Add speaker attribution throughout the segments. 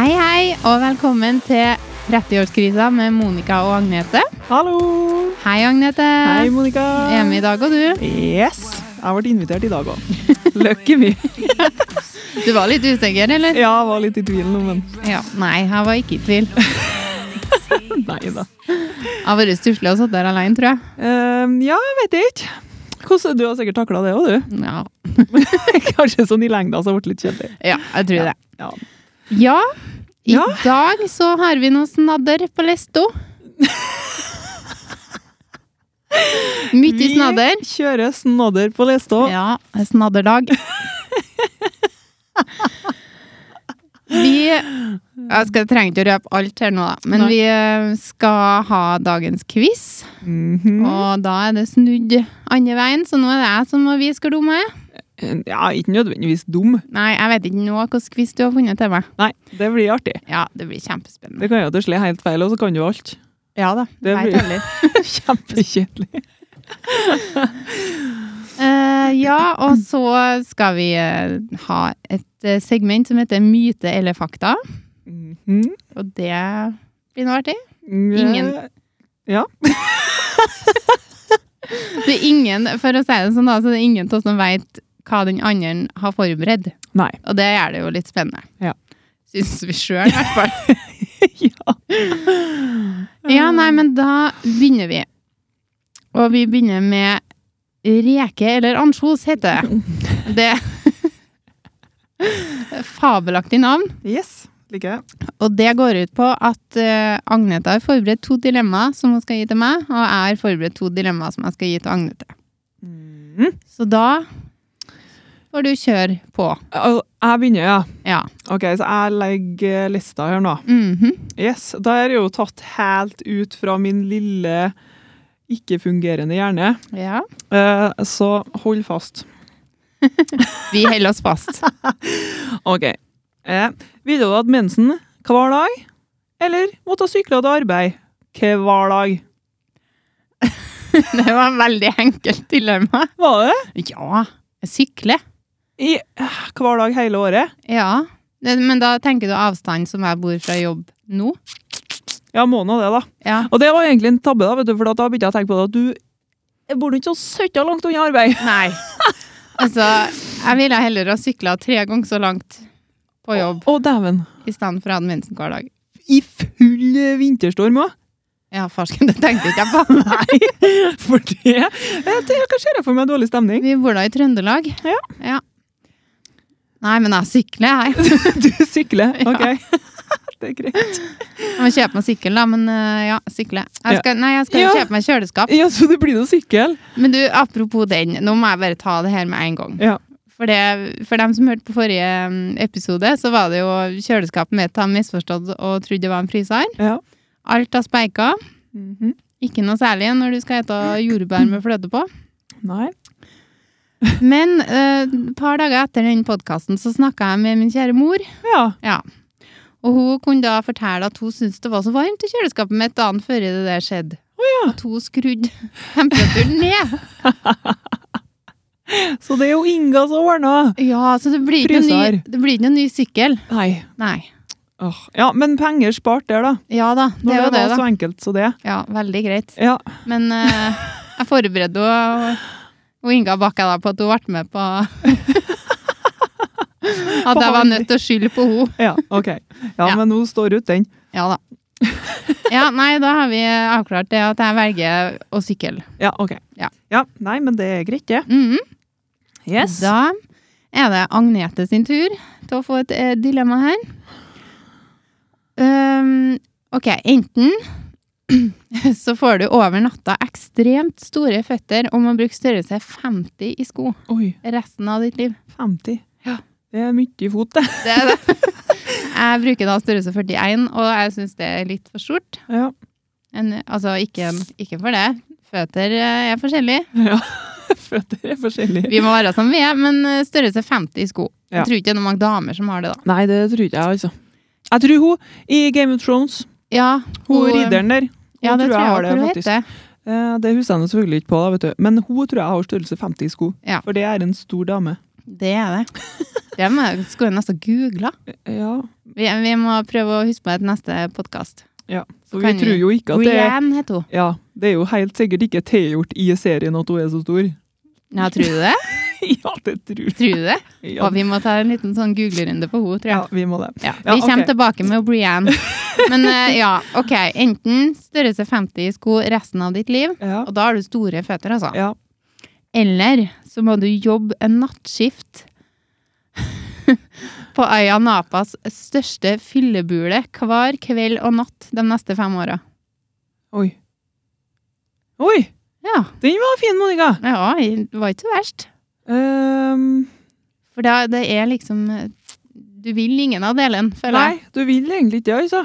Speaker 1: og velkommen til 30-årskrisa med Monica og Agnete.
Speaker 2: Hallo!
Speaker 1: Hei, Agnete.
Speaker 2: Hei, Monica.
Speaker 1: Er med i dag, og du?
Speaker 2: Yes! Jeg ble invitert i dag òg. Lucky me.
Speaker 1: Du var litt usikker, eller?
Speaker 2: Ja, jeg var litt i tvil nå, men
Speaker 1: Ja. Nei, jeg var ikke i tvil.
Speaker 2: nei da.
Speaker 1: Jeg har vært stusslig og satt der alene, tror jeg.
Speaker 2: Ehm, ja, jeg vet ikke. Hvordan, du har sikkert takla det òg, du.
Speaker 1: Ja,
Speaker 2: Kanskje sånn i lengda så har det blitt litt kjedelig.
Speaker 1: ja jeg tror det.
Speaker 2: Ja.
Speaker 1: Ja, i
Speaker 2: Ja.
Speaker 1: dag så har vi noe snadder på lista. Mye snadder.
Speaker 2: Vi kjører snadder på lista.
Speaker 1: Ja, en snadderdag. Vi Jeg skal trenger ikke å røpe alt her nå, da. Men
Speaker 2: Nei.
Speaker 1: vi eh, skal ha dagens quiz.
Speaker 2: Mhm.
Speaker 1: Og da er det snudd andre veien, så nå er det jeg som må vise hvor dum jeg er.
Speaker 2: Ja, ikke nødvendigvis dum.
Speaker 1: Nei, jeg vet ikke nå hvilken quiz du har funnet til meg.
Speaker 2: Nei, det blir artig.
Speaker 1: Ja, det blir kjempespennende.
Speaker 2: Det kan jo at du slår helt feil, og så kan du alt.
Speaker 1: Ja da.
Speaker 2: Det
Speaker 1: jeg
Speaker 2: blir-
Speaker 1: teller.
Speaker 2: Kjempekjedelig.
Speaker 1: Eh, ja, og så skal vi eh, ha et eh, segment som heter Myte eller fakta.
Speaker 2: Mhm.
Speaker 1: Og det blir noe artig. Ingen. Det er ingen, for å si det sånn da, så det er ingen av oss som vet hva den andre har forberedt.
Speaker 2: Nei.
Speaker 1: Og det gjør det jo litt spennende.
Speaker 2: Ja.
Speaker 1: Syns vi sjøl, i hvert fall.
Speaker 2: ja.
Speaker 1: Ja, nei, men da begynner vi. Og vi begynner med reke eller ansjos, heter det. Det Fabelaktig navn.
Speaker 2: Yes, liker jeg.
Speaker 1: Og det går ut på at eh, Agnete har forberedt to dilemmaer som hun skal gi til meg, og jeg har forberedt to dilemmaer som jeg skal gi til Agnete. Så da får du kjøre på.
Speaker 2: Al- Jeg begynner, ja.
Speaker 1: Ja.
Speaker 2: Ok, så jeg legger lista her nå.
Speaker 1: Mhm.
Speaker 2: Yes, Da er det jo tatt helt ut fra min lille ikke-fungerende hjerne.
Speaker 1: ja.
Speaker 2: Eh, så hold fast.
Speaker 1: Vi holder oss fast.
Speaker 2: Ok. Eh, ville du hatt mensen hver dag, eller måtte sykle til arbeid hver dag?
Speaker 1: Det var et veldig enkelt dilemma.
Speaker 2: Var det?
Speaker 1: Ja. jeg Sykler.
Speaker 2: I, eh, hver dag hele året?
Speaker 1: Ja. Det- Men da tenker du avstand som jeg bor fra jobb nå?
Speaker 2: Ja, må nå det, da.
Speaker 1: Ja.
Speaker 2: Og det var egentlig en tabbe, da, vet du, for da begynte jeg å tenke på det at du jeg bor nå ikke så søtta langt unna arbeid.
Speaker 1: Nei. Altså, jeg ville heller ha sykla tre ganger så langt på jobb
Speaker 2: Å, dæven.
Speaker 1: i stedet for å ha den mensen hver dag.
Speaker 2: I full eh, vinterstorm òg.
Speaker 1: Ja, farsken, det tenkte ikke jeg på.
Speaker 2: Nei, for det Jeg tenker, Hva ser jeg for meg? Dårlig stemning?
Speaker 1: Vi bor da i Trøndelag.
Speaker 2: Ja.
Speaker 1: Nei, men jeg sykler, jeg.
Speaker 2: Du sykler? Ok. Det er greit.
Speaker 1: Jeg må kjøpe meg sykkel, da, men øh, ja, sykle. Jeg skal, nei, jeg skal
Speaker 2: Ja.
Speaker 1: kjøpe meg kjøleskap.
Speaker 2: Ja, så det blir noe sykkel?
Speaker 1: Men du, apropos den, nå må jeg bare ta det her med en gang.
Speaker 2: Ja.
Speaker 1: For, det, for dem som hørte på forrige mm, episode, så var det jo kjøleskapet mitt har misforstått og trodde det var en fryser.
Speaker 2: Ja.
Speaker 1: Alt har speika.
Speaker 2: Mhm.
Speaker 1: Ikke noe særlig når du skal ete jordbær med fløte på.
Speaker 2: Nei.
Speaker 1: Men øh, et par dager etter den podkasten så snakka jeg med min kjære mor.
Speaker 2: Ja.
Speaker 1: Og hun kunne da fortelle at hun syntes det var så varmt i kjøleskapet mitt dagen før det der skjedde. At hun skrudde temperaturen ned.
Speaker 2: Så det er jo Inga som ordna.
Speaker 1: Ja, så det blir ikke noe ny,
Speaker 2: Fryser.
Speaker 1: det blir ikke noe ny sykkel.
Speaker 2: Nei.
Speaker 1: Nei.
Speaker 2: Åh. Ja, men penger spart der, da.
Speaker 1: Ja da,
Speaker 2: Når
Speaker 1: det er jo det,
Speaker 2: var
Speaker 1: da.
Speaker 2: så enkelt så det.
Speaker 1: Ja, veldig greit.
Speaker 2: Ja.
Speaker 1: Men eh, jeg forberedte henne og, og Inga bakka da på at hun ble med på At jeg var nødt til å skylde på henne.
Speaker 2: ja. Ok.
Speaker 1: Ja.
Speaker 2: Ja, men hun står ut, den.
Speaker 1: Ja da. Ja, nei, da har vi avklart det at jeg velger å sykle.
Speaker 2: Ja, ok.
Speaker 1: Ja.
Speaker 2: Nei, men det er greit, det.
Speaker 1: Mhm.
Speaker 2: Yes.
Speaker 1: Da er det Agnete sin tur til å få et eh, dilemma her. Ehm, ok, enten så får du over natta ekstremt store føtter og må bruke størrelse 50 i sko
Speaker 2: Oi.
Speaker 1: resten av ditt liv.
Speaker 2: 50.
Speaker 1: Ja.
Speaker 2: Det er mye i fot, det.
Speaker 1: Det er det. Jeg bruker da størrelse 41, og jeg syns det er litt for stort.
Speaker 2: Ja.
Speaker 1: En, altså, ikke, ikke for det. Føtter eh, er forskjellige.
Speaker 2: ja. Føtter er forskjellige.
Speaker 1: Vi må være som vi er, men eh, størrelse 50 i sko.
Speaker 2: Ja.
Speaker 1: Jeg tror ikke det er noen damer som har det, da.
Speaker 2: Nei, det tror ikke jeg, altså. Jeg tror hun i Game of Thrones,
Speaker 1: Ja,
Speaker 2: hun
Speaker 1: hun-
Speaker 2: ridderen der, hun
Speaker 1: Ja, det tror jeg,
Speaker 2: har det,
Speaker 1: også hun
Speaker 2: faktisk.
Speaker 1: heter.
Speaker 2: Eh, det husker jeg nå selvfølgelig ikke på, da, vet du. men hun tror jeg har størrelse 50 i sko.
Speaker 1: Ja.
Speaker 2: For det er en stor dame.
Speaker 1: Det er det. Det må jeg- skulle jeg nesten google.
Speaker 2: Ja,
Speaker 1: Vi, vi må prøve å huske på et neste podkast.
Speaker 2: Ja, for vi
Speaker 1: Kan
Speaker 2: tror
Speaker 1: vi-
Speaker 2: jo ikke at det er
Speaker 1: Rianne heter hun.
Speaker 2: Ja, det er jo helt sikkert ikke tilgjort i serien at hun er så stor.
Speaker 1: Ja, tror du det?
Speaker 2: ja, det tror jeg.
Speaker 1: Tror du det?
Speaker 2: Ja,
Speaker 1: Og vi må ta en liten sånn googlerunde på henne, tror
Speaker 2: ja,
Speaker 1: jeg.
Speaker 2: vi må det.
Speaker 1: Ja,
Speaker 2: Ja,
Speaker 1: vi kommer
Speaker 2: ok.
Speaker 1: tilbake med Brianne. Men eh, ja, OK. Enten størrelse 50 i sko resten av ditt liv,
Speaker 2: Ja,
Speaker 1: og da har du store føtter, altså.
Speaker 2: ja.
Speaker 1: Eller så må du jobbe en nattskift på Aya Napas største fyllebule hver kveld og natt de neste fem åra.
Speaker 2: Oi. Oi,
Speaker 1: Ja.
Speaker 2: den var fin, Monica!
Speaker 1: ja, det var ikke så verst.
Speaker 2: Ehm,
Speaker 1: For da, det er liksom Du vil ingen av delene, føler jeg.
Speaker 2: nei, du vil egentlig ikke det, altså.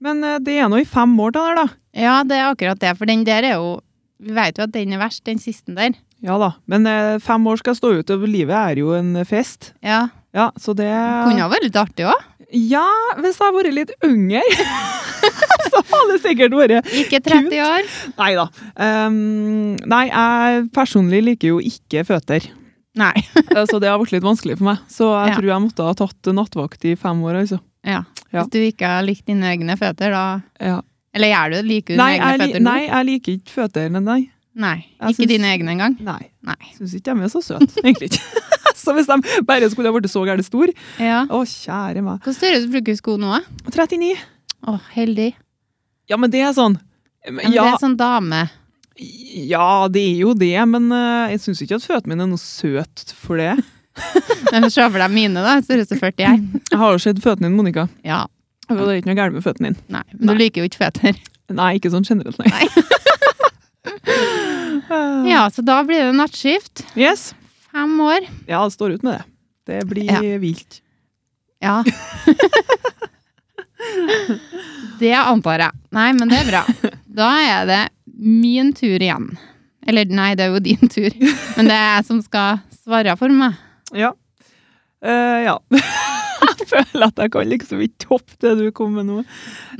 Speaker 2: Men eh, det er nå i fem år til der, da.
Speaker 1: Ja, det er akkurat det. For den der er jo Vi vet jo at den er verst, den siste der.
Speaker 2: Ja da. Men eh, fem år skal stå ut, og livet er jo en fest.
Speaker 1: Ja.
Speaker 2: Ja, så det
Speaker 1: Kunne ha vært litt artig òg.
Speaker 2: Ja, hvis jeg hadde vært litt yngre, så hadde det sikkert vært
Speaker 1: Ikke 30
Speaker 2: Kult.
Speaker 1: år.
Speaker 2: Nei da. Ehm, nei, jeg personlig liker jo ikke føtter.
Speaker 1: Nei.
Speaker 2: Eh, Så det har vært litt vanskelig for meg. Så jeg
Speaker 1: Ja.
Speaker 2: tror jeg måtte ha tatt nattvakt i fem år, altså.
Speaker 1: Ja.
Speaker 2: Ja.
Speaker 1: Hvis du ikke har likt dine egne føtter, da
Speaker 2: Ja.
Speaker 1: Eller gjør du det? Liker du dine
Speaker 2: Nei,
Speaker 1: egne
Speaker 2: jeg, li-
Speaker 1: føtter nå?
Speaker 2: nei, jeg liker ikke føtter, men nei.
Speaker 1: Nei.
Speaker 2: Jeg
Speaker 1: Ikke
Speaker 2: syns-
Speaker 1: dine egne engang?
Speaker 2: Nei.
Speaker 1: Nei.
Speaker 2: Syns ikke de er så søte, egentlig ikke. så hvis de bare skulle ha blitt så gærent stor
Speaker 1: Ja.
Speaker 2: Å, kjære meg.
Speaker 1: Hvilken størrelse bruker du sko nå? da?
Speaker 2: 39.
Speaker 1: Å, heldig.
Speaker 2: Ja, men det er sånn.
Speaker 1: Ja, men
Speaker 2: Ja,
Speaker 1: Det er sånn dame.
Speaker 2: ja, det er jo det, men eh, jeg syns ikke at føttene mine er noe søt for det.
Speaker 1: Men se for deg mine, da. Størrelse 41.
Speaker 2: Jeg har jo sett føttene dine, Monica.
Speaker 1: Ja.
Speaker 2: Og det er ikke noe gærent med føttene dine.
Speaker 1: Nei. Men
Speaker 2: Nei.
Speaker 1: du liker jo ikke føtter.
Speaker 2: Nei, ikke sånn generelt, nei. Eh,
Speaker 1: Ja, så da blir det nattskift.
Speaker 2: Yes.
Speaker 1: Fem år.
Speaker 2: Ja, det står ut med det. Det blir
Speaker 1: Ja.
Speaker 2: vilt.
Speaker 1: Ja. det antar jeg. Nei, men det er bra. Da er det min tur igjen. Eller nei, det er jo din tur. Men det er jeg som skal svare for meg.
Speaker 2: Ja. Eh, ja. jeg føler at jeg kan liksom ikke toppe det du kom med nå.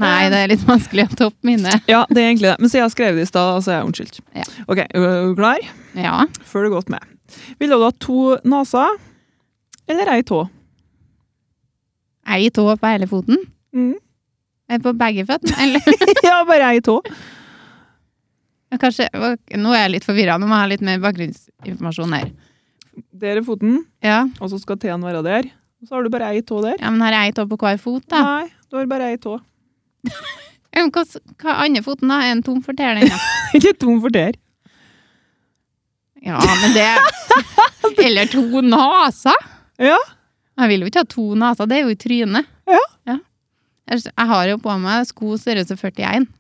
Speaker 1: Nei, det er litt vanskelig å toppe mine.
Speaker 2: Ja, det er egentlig det. Men siden jeg skrev det i stad, så er jeg unnskyldt.
Speaker 1: Ja.
Speaker 2: Ok, er du klar?
Speaker 1: Ja.
Speaker 2: Følg godt med. Vil du ha to naser eller ei tå?
Speaker 1: Ei tå på hele foten.
Speaker 2: Mm.
Speaker 1: Eh, På begge føttene, eller?
Speaker 2: ja, bare ei tå.
Speaker 1: Ja, Kanskje, ok, nå er jeg litt forvirra, nå må jeg ha litt mer bakgrunnsinformasjon her.
Speaker 2: Der er foten,
Speaker 1: Ja,
Speaker 2: og så skal teen være der. Og så har du bare ei tå der.
Speaker 1: ja men har jeg ei tå på hver fot, da?
Speaker 2: Nei, du har bare ei tå.
Speaker 1: Ja, men Hva, s- hva andre foten, da? Er den tom for tær, den? da?
Speaker 2: Ikke tom for der.
Speaker 1: Ja, men det Eller to naser?
Speaker 2: Ja.
Speaker 1: Jeg vil jo ikke ha to naser, det er jo i trynet.
Speaker 2: Ja.
Speaker 1: Jeg s- Jeg har jo på meg sko størrelse 41.
Speaker 2: Ja.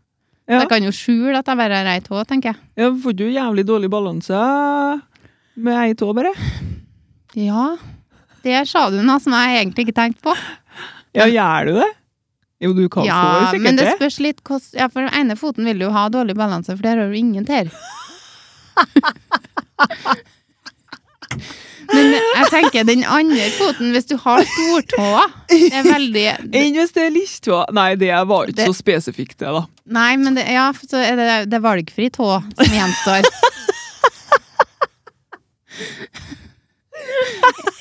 Speaker 1: Så jeg kan jo skjule at jeg bare har ei tå, tenker
Speaker 2: Ja, får du jævlig dårlig balanse med ei tå, bare?
Speaker 1: jeg. Ja, der sa du noe som jeg egentlig ikke tenkte på.
Speaker 2: Ja, gjør du det? Jo, du kan få jo
Speaker 1: Ja,
Speaker 2: sikkert
Speaker 1: men det
Speaker 2: det.
Speaker 1: spørs litt hvordan Ja, for den ene foten vil jo ha dårlig balanse, for der har du ingen tær. men jeg tenker den andre foten, hvis du har stortåa, det er veldig
Speaker 2: Enn hvis det er listtå? Nei, det var ikke
Speaker 1: Det-
Speaker 2: så spesifikt, det, da.
Speaker 1: Nei, men det, ja, så er det, det er valgfri tå som gjenstår.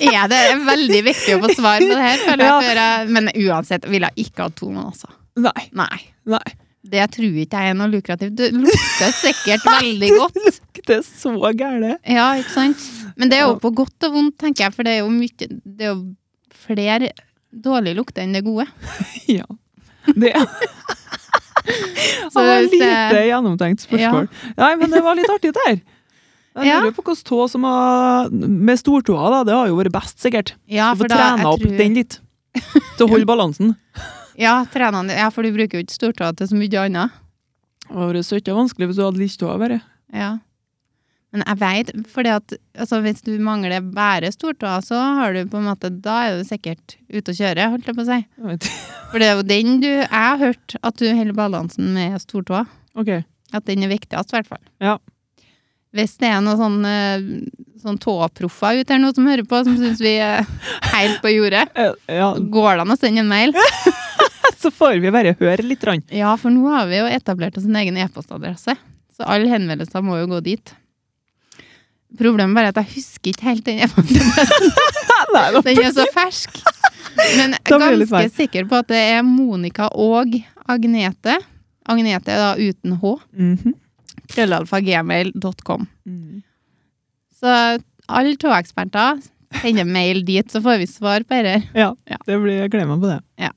Speaker 1: Er det er veldig viktig å få svar på det her, føler
Speaker 2: Ja.
Speaker 1: jeg. Før jeg men uansett, ville jeg ikke hatt to, men altså.
Speaker 2: Nei.
Speaker 1: Nei.
Speaker 2: nei.
Speaker 1: Det tror ikke jeg er noe lukrativt. Det lukter sikkert veldig godt.
Speaker 2: Det er så gærent.
Speaker 1: Ja, ikke sant? Men det er jo på godt og vondt, tenker jeg, for det er jo mye Det er jo flere dårlige lukter enn det gode.
Speaker 2: Ja. Det
Speaker 1: Så
Speaker 2: det var
Speaker 1: hvis
Speaker 2: lite
Speaker 1: det,
Speaker 2: gjennomtenkt spørsmål. Nei, men det var litt artig, det her. Jeg
Speaker 1: Ja.
Speaker 2: lurer på hvilken tå som har Med stortåa, da. Det har jo vært best, sikkert.
Speaker 1: ja,
Speaker 2: Å
Speaker 1: for
Speaker 2: få
Speaker 1: da, jeg
Speaker 2: trena opp
Speaker 1: tror-
Speaker 2: den litt. Til å holde balansen.
Speaker 1: Ja, trena den. ja, for du bruker jo ikke stortåa til så mye annet.
Speaker 2: Det hadde vært søtt og vanskelig hvis du hadde listtåa, bare.
Speaker 1: Ja. Men jeg veit, fordi at altså, hvis du mangler bare stortåa, så har du på en måte Da er du sikkert ute å kjøre, holdt jeg på å si.
Speaker 2: Jeg vet ikke.
Speaker 1: For det er jo den du Jeg har hørt at du holder balansen med stortåa.
Speaker 2: Ok.
Speaker 1: At den er viktigst, i hvert fall.
Speaker 2: Ja.
Speaker 1: Hvis det er noen sånn, eh, sånn tåproffer ute her nå som hører på, som syns vi er helt på jordet,
Speaker 2: Eh, Ja,
Speaker 1: går det an å sende en mail?
Speaker 2: så får vi bare høre litt. Rann.
Speaker 1: Ja, for nå har vi jo etablert oss en egen e-postadresse, så alle henvendelser må jo gå dit. Problemet bare er at jeg husker ikke helt den e-postadressen.
Speaker 2: Nei, da.
Speaker 1: Den er så fersk. Men
Speaker 2: Da blir jeg litt
Speaker 1: ganske sikker på at det er Monica og Agnete. Agnete er da uten H.
Speaker 2: Mhm.
Speaker 1: Krøllalfagmail.com.
Speaker 2: Mm.
Speaker 1: Så alle togeksperter sender mail dit, så får vi svar på dette.
Speaker 2: Ja,
Speaker 1: Ja.
Speaker 2: det blir, jeg gleder meg på det.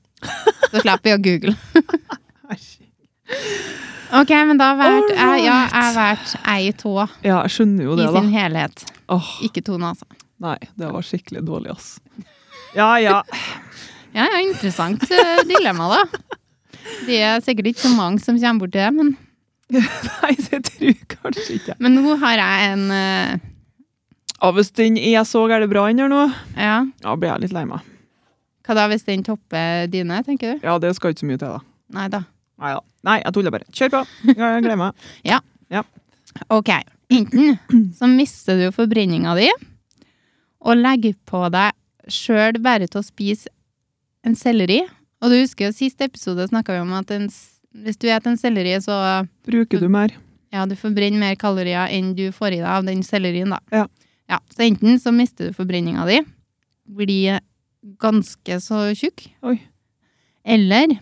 Speaker 1: Så slipper vi å google.
Speaker 2: Æsj.
Speaker 1: Ok, men da valgte jeg Ja, jeg valgte ei tå
Speaker 2: Ja, jeg skjønner jo
Speaker 1: i
Speaker 2: det, da.
Speaker 1: sin helhet.
Speaker 2: Åh,
Speaker 1: Ikke to altså. naser.
Speaker 2: nei, det var skikkelig dårlig, ass. Ja, ja.
Speaker 1: Ja, ja, interessant eh, dilemma, da. Det er sikkert ikke så mange som kommer bort til det, men,
Speaker 2: Nei, det tror jeg kanskje ikke.
Speaker 1: men nå har jeg en eh,
Speaker 2: Ja, hvis den er så gærent bra inn her nå,
Speaker 1: Ja,
Speaker 2: ja, blir jeg litt lei meg.
Speaker 1: hva da hvis den topper dine, tenker du?
Speaker 2: Ja, det skal ikke så mye til, da.
Speaker 1: Nei da.
Speaker 2: Nei, ja. Nei, jeg tuller bare. Kjør på. Ja, jeg gleder meg.
Speaker 1: Ok, enten så mister du forbrenninga di og legger på deg sjøl bare til å spise en selleri. Og du husker jo sist episode snakka vi om at en, s- hvis du spiser en selleri, så
Speaker 2: Bruker du mer?
Speaker 1: ja, du forbrenner mer kalorier enn du får i deg av den sellerien, da.
Speaker 2: Ja.
Speaker 1: Ja, så enten så mister du forbrenninga di, blir ganske så tjukk,
Speaker 2: Oi.
Speaker 1: eller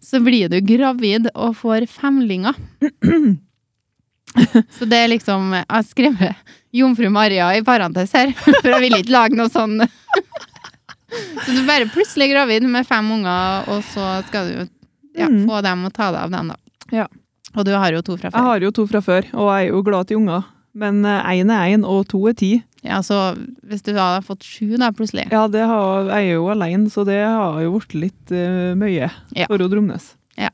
Speaker 1: så blir du gravid og får femlinger. Så det er liksom Jeg har skrevet Jomfru Maria i parentes her, for jeg ville ikke lage noe sånn Så du er bare plutselig gravid med fem unger, og så skal du ja,
Speaker 2: Mm.
Speaker 1: få dem og ta deg av dem, da.
Speaker 2: Ja.
Speaker 1: Og du har jo to fra
Speaker 2: Jeg
Speaker 1: før.
Speaker 2: har jo to fra før, og jeg er jo glad til unger. Men én er én, og to er ti.
Speaker 1: Ja, så hvis du da hadde fått sju da, plutselig
Speaker 2: Ja, det har, jeg er jo alene, så det har jo blitt litt eh, mye
Speaker 1: Ja.
Speaker 2: for å Dromnes.
Speaker 1: Ja.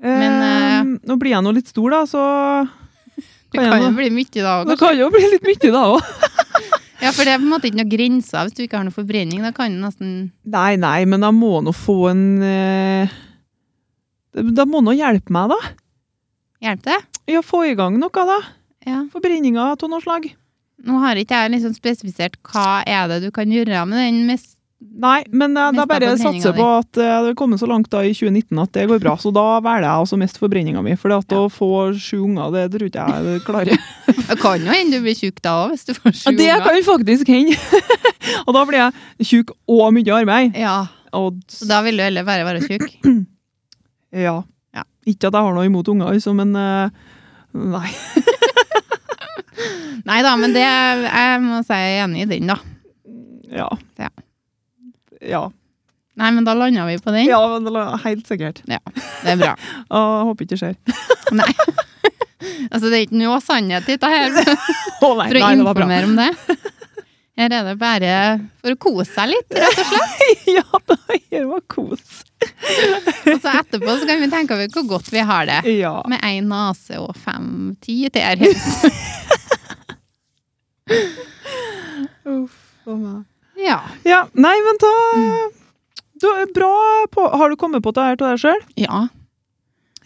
Speaker 2: Men
Speaker 1: Men,
Speaker 2: Nå blir jeg nå litt stor, da, så
Speaker 1: Det
Speaker 2: kan jeg
Speaker 1: kan jo
Speaker 2: nå-
Speaker 1: bli mye da
Speaker 2: det
Speaker 1: òg.
Speaker 2: kan jo bli litt mye, da òg.
Speaker 1: Ja, for det er på en måte ikke noen grenser hvis du ikke har noe forbrenning. Da kan du nesten
Speaker 2: Nei, nei, men jeg må nå få en eh, Da må nå hjelpe meg, da.
Speaker 1: hjelpe det.
Speaker 2: Ja, få i gang noe, da.
Speaker 1: Ja.
Speaker 2: Forbrenninga av noe slag.
Speaker 1: Nå har ikke jeg liksom spesifisert hva er det du kan gjøre med den mest
Speaker 2: Nei, men eh, da
Speaker 1: Mest av
Speaker 2: bare
Speaker 1: forbrenninga
Speaker 2: satser
Speaker 1: di.
Speaker 2: på at eh, det har kommet så langt da i 2019 at det går bra. Så da velger jeg altså mest forbrenninga mi. For at å få sju unger, det tror ikke jeg klarer.
Speaker 1: Det kan jo hende du blir tjukk da òg, hvis du får sju
Speaker 2: Ja, det
Speaker 1: unger.
Speaker 2: kan faktisk hende! og da blir jeg tjukk og mye arbeid.
Speaker 1: Ja,
Speaker 2: Og
Speaker 1: så da vil du heller bare være tjukk.
Speaker 2: ja.
Speaker 1: Ja.
Speaker 2: Ikke at jeg har noe imot unger, altså, men eh, Nei.
Speaker 1: Nei da, men det Jeg må si jeg er enig i den, da.
Speaker 2: Ja.
Speaker 1: Ja.
Speaker 2: Ja,
Speaker 1: Nei, men da landa vi på den.
Speaker 2: ja men det la- helt sikkert.
Speaker 1: Det er bra.
Speaker 2: Og jeg håper ikke det skjer.
Speaker 1: Nei. altså, det er ikke noe sannhet i dette her.
Speaker 2: Å, nei,
Speaker 1: For å
Speaker 2: nei, det var bra.
Speaker 1: informere om det. Her er det bare for å kose seg litt, rett og slett.
Speaker 2: ja, det var kos.
Speaker 1: Og så etterpå så kan vi tenke over hvor godt vi har det.
Speaker 2: Ja.
Speaker 1: Med én nese og fem-ti tær. helst.
Speaker 2: Uff a meg.
Speaker 1: Ja.
Speaker 2: Ja, nei, men ta du, er Bra på Har du kommet på det her til deg sjøl?
Speaker 1: ja.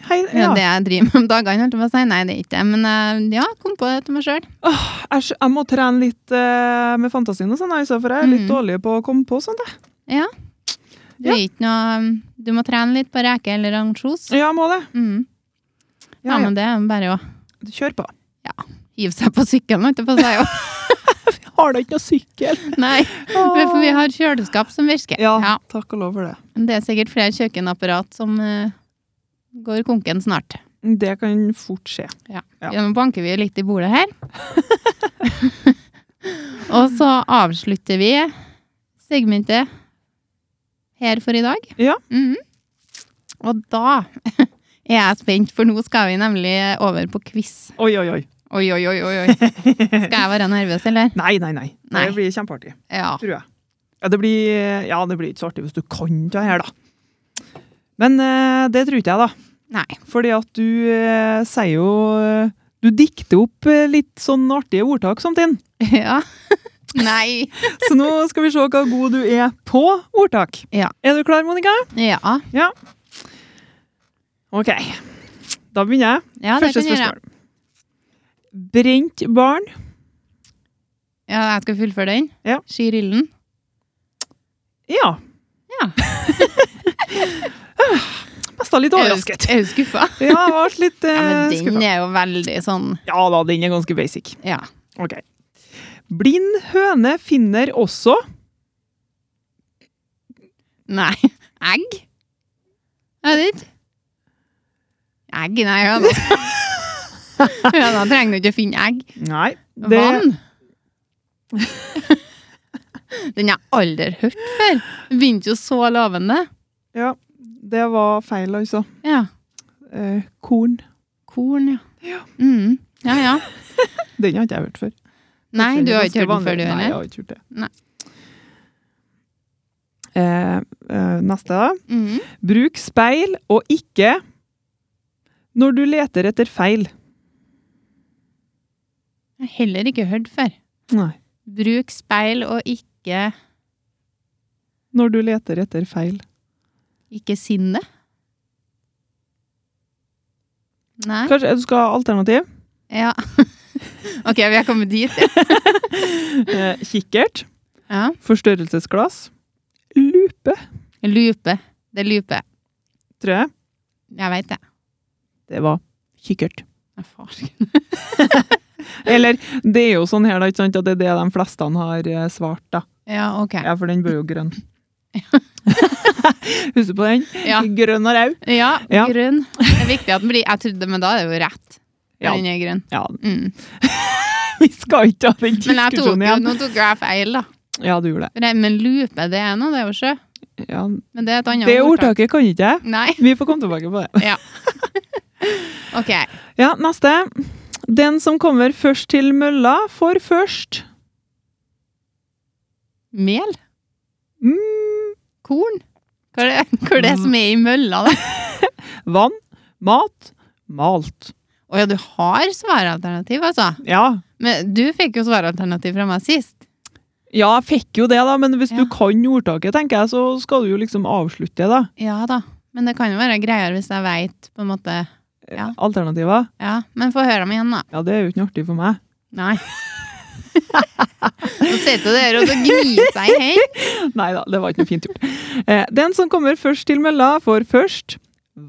Speaker 2: Hei,
Speaker 1: Det
Speaker 2: ja.
Speaker 1: er det jeg driver med om dagene. holdt jeg på å si. Nei, det er ikke det. Men eh, ja, kom på det til meg sjøl.
Speaker 2: Åh, jeg, skj- jeg må trene litt eh, med fantasien og sånn, altså, for jeg er litt
Speaker 1: Mhm.
Speaker 2: dårlig på å komme på sånt. jeg.
Speaker 1: Du, er ikke noe- um, du må trene litt på reke eller ansjos.
Speaker 2: Ja, jeg må det.
Speaker 1: Mm. Ja,
Speaker 2: Ja, ja.
Speaker 1: men det er bare å
Speaker 2: Kjør på.
Speaker 1: hive seg på sykkelen, holdt jeg på å si. Og-
Speaker 2: Har da ikke noe sykkel?
Speaker 1: Nei, for vi har kjøleskap som virker.
Speaker 2: Ja,
Speaker 1: Ja.
Speaker 2: takk og lov for det.
Speaker 1: Men Det er sikkert flere kjøkkenapparat som eh, går konken snart.
Speaker 2: Det kan fort skje. Ja.
Speaker 1: Nå banker vi jo litt i bordet her. og så avslutter vi segmentet her for i dag.
Speaker 2: Ja.
Speaker 1: Mhm. Og da er jeg spent, for nå skal vi nemlig over på quiz.
Speaker 2: Oi, oi, oi.
Speaker 1: Oi, oi, oi, oi. oi. Skal jeg være nervøs, eller?
Speaker 2: Nei, nei, nei.
Speaker 1: Nei.
Speaker 2: Det blir kjempeartig,
Speaker 1: Ja.
Speaker 2: tror jeg. Ja, det blir, ja, det blir ikke så artig hvis du kan det her, da. Men eh, det tror ikke jeg, da.
Speaker 1: Nei.
Speaker 2: Fordi at du eh, sier jo eh, Du dikter opp eh, litt sånn artige ordtak samtidig.
Speaker 1: Ja. Nei.
Speaker 2: Så nå skal vi se hva god du er på ordtak.
Speaker 1: Ja.
Speaker 2: Er du klar, Monica?
Speaker 1: Ja,
Speaker 2: OK. Da begynner jeg.
Speaker 1: ja det
Speaker 2: Første
Speaker 1: kan jeg gjøre.
Speaker 2: spørsmål. Brent barn.
Speaker 1: Ja, jeg skal fullføre den.
Speaker 2: Ja.
Speaker 1: Skyr ilden.
Speaker 2: Ja.
Speaker 1: Ja.
Speaker 2: Mest av litt overrasket.
Speaker 1: Er du skuffa?
Speaker 2: Ja, jeg ble litt
Speaker 1: Ja,
Speaker 2: eh,
Speaker 1: men den
Speaker 2: skuffa.
Speaker 1: er jo veldig sånn
Speaker 2: Ja da, den er ganske basic.
Speaker 1: Ja.
Speaker 2: OK. Blind høne finner også
Speaker 1: Nei. Egg? Jeg vet ikke. Egg? Nei, ja da. ja, da trenger du ikke å finne egg.
Speaker 2: Nei. Det,
Speaker 1: Vann? Den har jeg aldri hørt før. Den begynte jo så lovende.
Speaker 2: ja, det var feil, altså.
Speaker 1: Ja.
Speaker 2: Eh, korn.
Speaker 1: Korn, ja.
Speaker 2: Ja.
Speaker 1: Mm. Ja, ja.
Speaker 2: Den har ikke jeg hørt før.
Speaker 1: Nei,
Speaker 2: Det
Speaker 1: du
Speaker 2: er
Speaker 1: har ikke
Speaker 2: ganske
Speaker 1: hørt den før, du
Speaker 2: vanlig. Nei, jeg
Speaker 1: heller?
Speaker 2: har ikke gjort det.
Speaker 1: Nei.
Speaker 2: Eh, eh, neste, da.
Speaker 1: Mm.
Speaker 2: Bruk speil og ikke når du leter etter feil.
Speaker 1: Jeg har heller ikke hørt før.
Speaker 2: Nei.
Speaker 1: Bruk speil og ikke,
Speaker 2: Når du leter etter feil.
Speaker 1: ikke sinne. Nei?
Speaker 2: Kanskje du skal ha alternativ?
Speaker 1: Ja. ok, vi er kommet dit. ja.
Speaker 2: Eh, kikkert,
Speaker 1: Ja.
Speaker 2: forstørrelsesglass, lupe,
Speaker 1: Lupe. Det er lupe.
Speaker 2: tror jeg.
Speaker 1: Jeg veit det.
Speaker 2: Det var kikkert.
Speaker 1: Jeg får-
Speaker 2: Eller, det er jo sånn her, da, ikke sant, at det er det de fleste har eh, svart, da.
Speaker 1: Ja, ok.
Speaker 2: Ja, for den blir jo grønn. Husker du på den?
Speaker 1: Ja.
Speaker 2: Grønn og rau.
Speaker 1: Ja,
Speaker 2: Ja.
Speaker 1: grønn. Det er viktig at den blir Jeg trodde, men da er det jo rett.
Speaker 2: Ja.
Speaker 1: Ja. Den er grønn.
Speaker 2: Ja,
Speaker 1: Mm.
Speaker 2: vi skal ikke ha den
Speaker 1: Men jeg tok
Speaker 2: diskusjonen
Speaker 1: jo,
Speaker 2: igjen.
Speaker 1: nå tok jeg feil, da.
Speaker 2: Ja, du gjorde det.
Speaker 1: For det- Men lupe, det er noe, det er jo sjø.
Speaker 2: Ja,
Speaker 1: Men det er et annet
Speaker 2: det ordtaket kan ikke jeg.
Speaker 1: Nei.
Speaker 2: Vi får komme tilbake på det.
Speaker 1: Ok.
Speaker 2: Ja, neste. Den som kommer først til mølla, får først
Speaker 1: Mel?
Speaker 2: mm,
Speaker 1: Korn? Hva er det, hva er det som er i mølla, da?
Speaker 2: vann, mat, malt.
Speaker 1: Å ja, du har svaralternativ, altså.
Speaker 2: Ja.
Speaker 1: Men du fikk jo svaralternativ fra meg sist.
Speaker 2: ja, jeg fikk jo det, da, men hvis
Speaker 1: Ja.
Speaker 2: du kan ordtaket, tenker jeg, så skal du jo liksom avslutte det, da.
Speaker 1: Ja da. Men det kan jo være greiere hvis jeg veit, på en måte. Ja.
Speaker 2: Alternativer.
Speaker 1: Ja. Men få høre dem igjen, da.
Speaker 2: Ja, det er jo ikke noe artig for meg.
Speaker 1: Nei. Nå sitter du der og så gnir seg i hei.
Speaker 2: Nei da, det var ikke noe fint gjort. Eh, den som kommer først til mølla, får først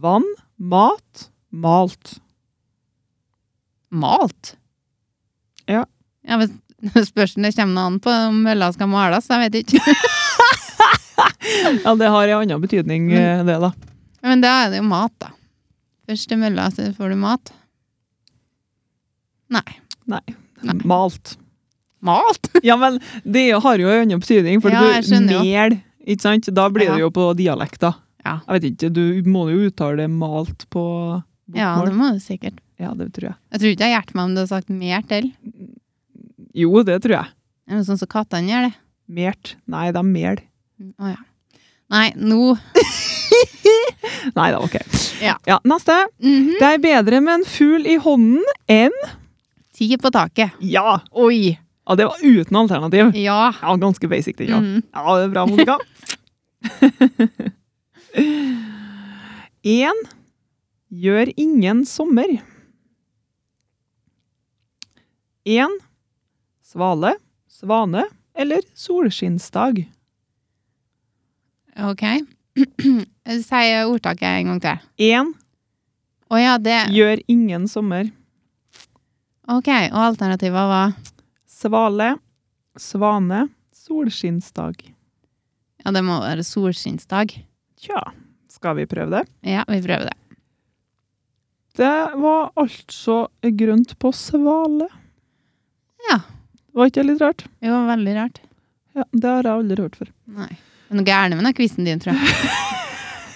Speaker 2: vann, mat, malt.
Speaker 1: Malt?
Speaker 2: Ja.
Speaker 1: ja men spørs om det kommer noe an på om mølla skal males, jeg vet ikke.
Speaker 2: Ja, det har en annen betydning,
Speaker 1: Mm.
Speaker 2: eh, det, da.
Speaker 1: Men da er det jo mat, da. Først til mølla, så får du mat. Nei. Nei.
Speaker 2: Malt.
Speaker 1: Malt?
Speaker 2: Ja, men det har jo en annen betydning, for
Speaker 1: Ja, jeg
Speaker 2: du
Speaker 1: skjønner jo.
Speaker 2: mel, ikke sant? Da blir det jo på dialekt, da.
Speaker 1: Ja.
Speaker 2: Jeg vet ikke, du må jo uttale det malt på
Speaker 1: Ja, det
Speaker 2: bokmål.
Speaker 1: må du sikkert.
Speaker 2: Ja, det tror jeg.
Speaker 1: Jeg tror ikke jeg hadde hjulpet meg om du hadde sagt mer til.
Speaker 2: Jo, det tror jeg.
Speaker 1: Det er noe sånn som kattene gjør det.
Speaker 2: Mert. Nei, det er mel.
Speaker 1: Å ja. Nei, nå
Speaker 2: Nei da, ok.
Speaker 1: Ja.
Speaker 2: neste.
Speaker 1: Mhm.
Speaker 2: Det er bedre med en fugl i hånden enn
Speaker 1: Ti på taket.
Speaker 2: Ja!
Speaker 1: Oi!
Speaker 2: ja det var uten alternativ.
Speaker 1: Ja.
Speaker 2: Ja, ganske basic, den, ja.
Speaker 1: Mm.
Speaker 2: Ja, det er bra, Monica. Én gjør ingen sommer. Én svale, svane eller solskinnsdag.
Speaker 1: Ok. Si ordtaket en gang til.
Speaker 2: Én
Speaker 1: Å ja, det
Speaker 2: gjør ingen sommer.
Speaker 1: Ok, og alternativet var
Speaker 2: Svale, svane, solskinnsdag.
Speaker 1: Ja, det må være solskinnsdag.
Speaker 2: Tja, skal vi prøve det?
Speaker 1: Ja, vi prøver det.
Speaker 2: Det var altså grønt på svale.
Speaker 1: Ja.
Speaker 2: Var ikke det litt rart?
Speaker 1: Det var veldig rart.
Speaker 2: Ja, det har jeg aldri hørt før.
Speaker 1: Nei. Det er noe gærent med den quizen din, tror jeg.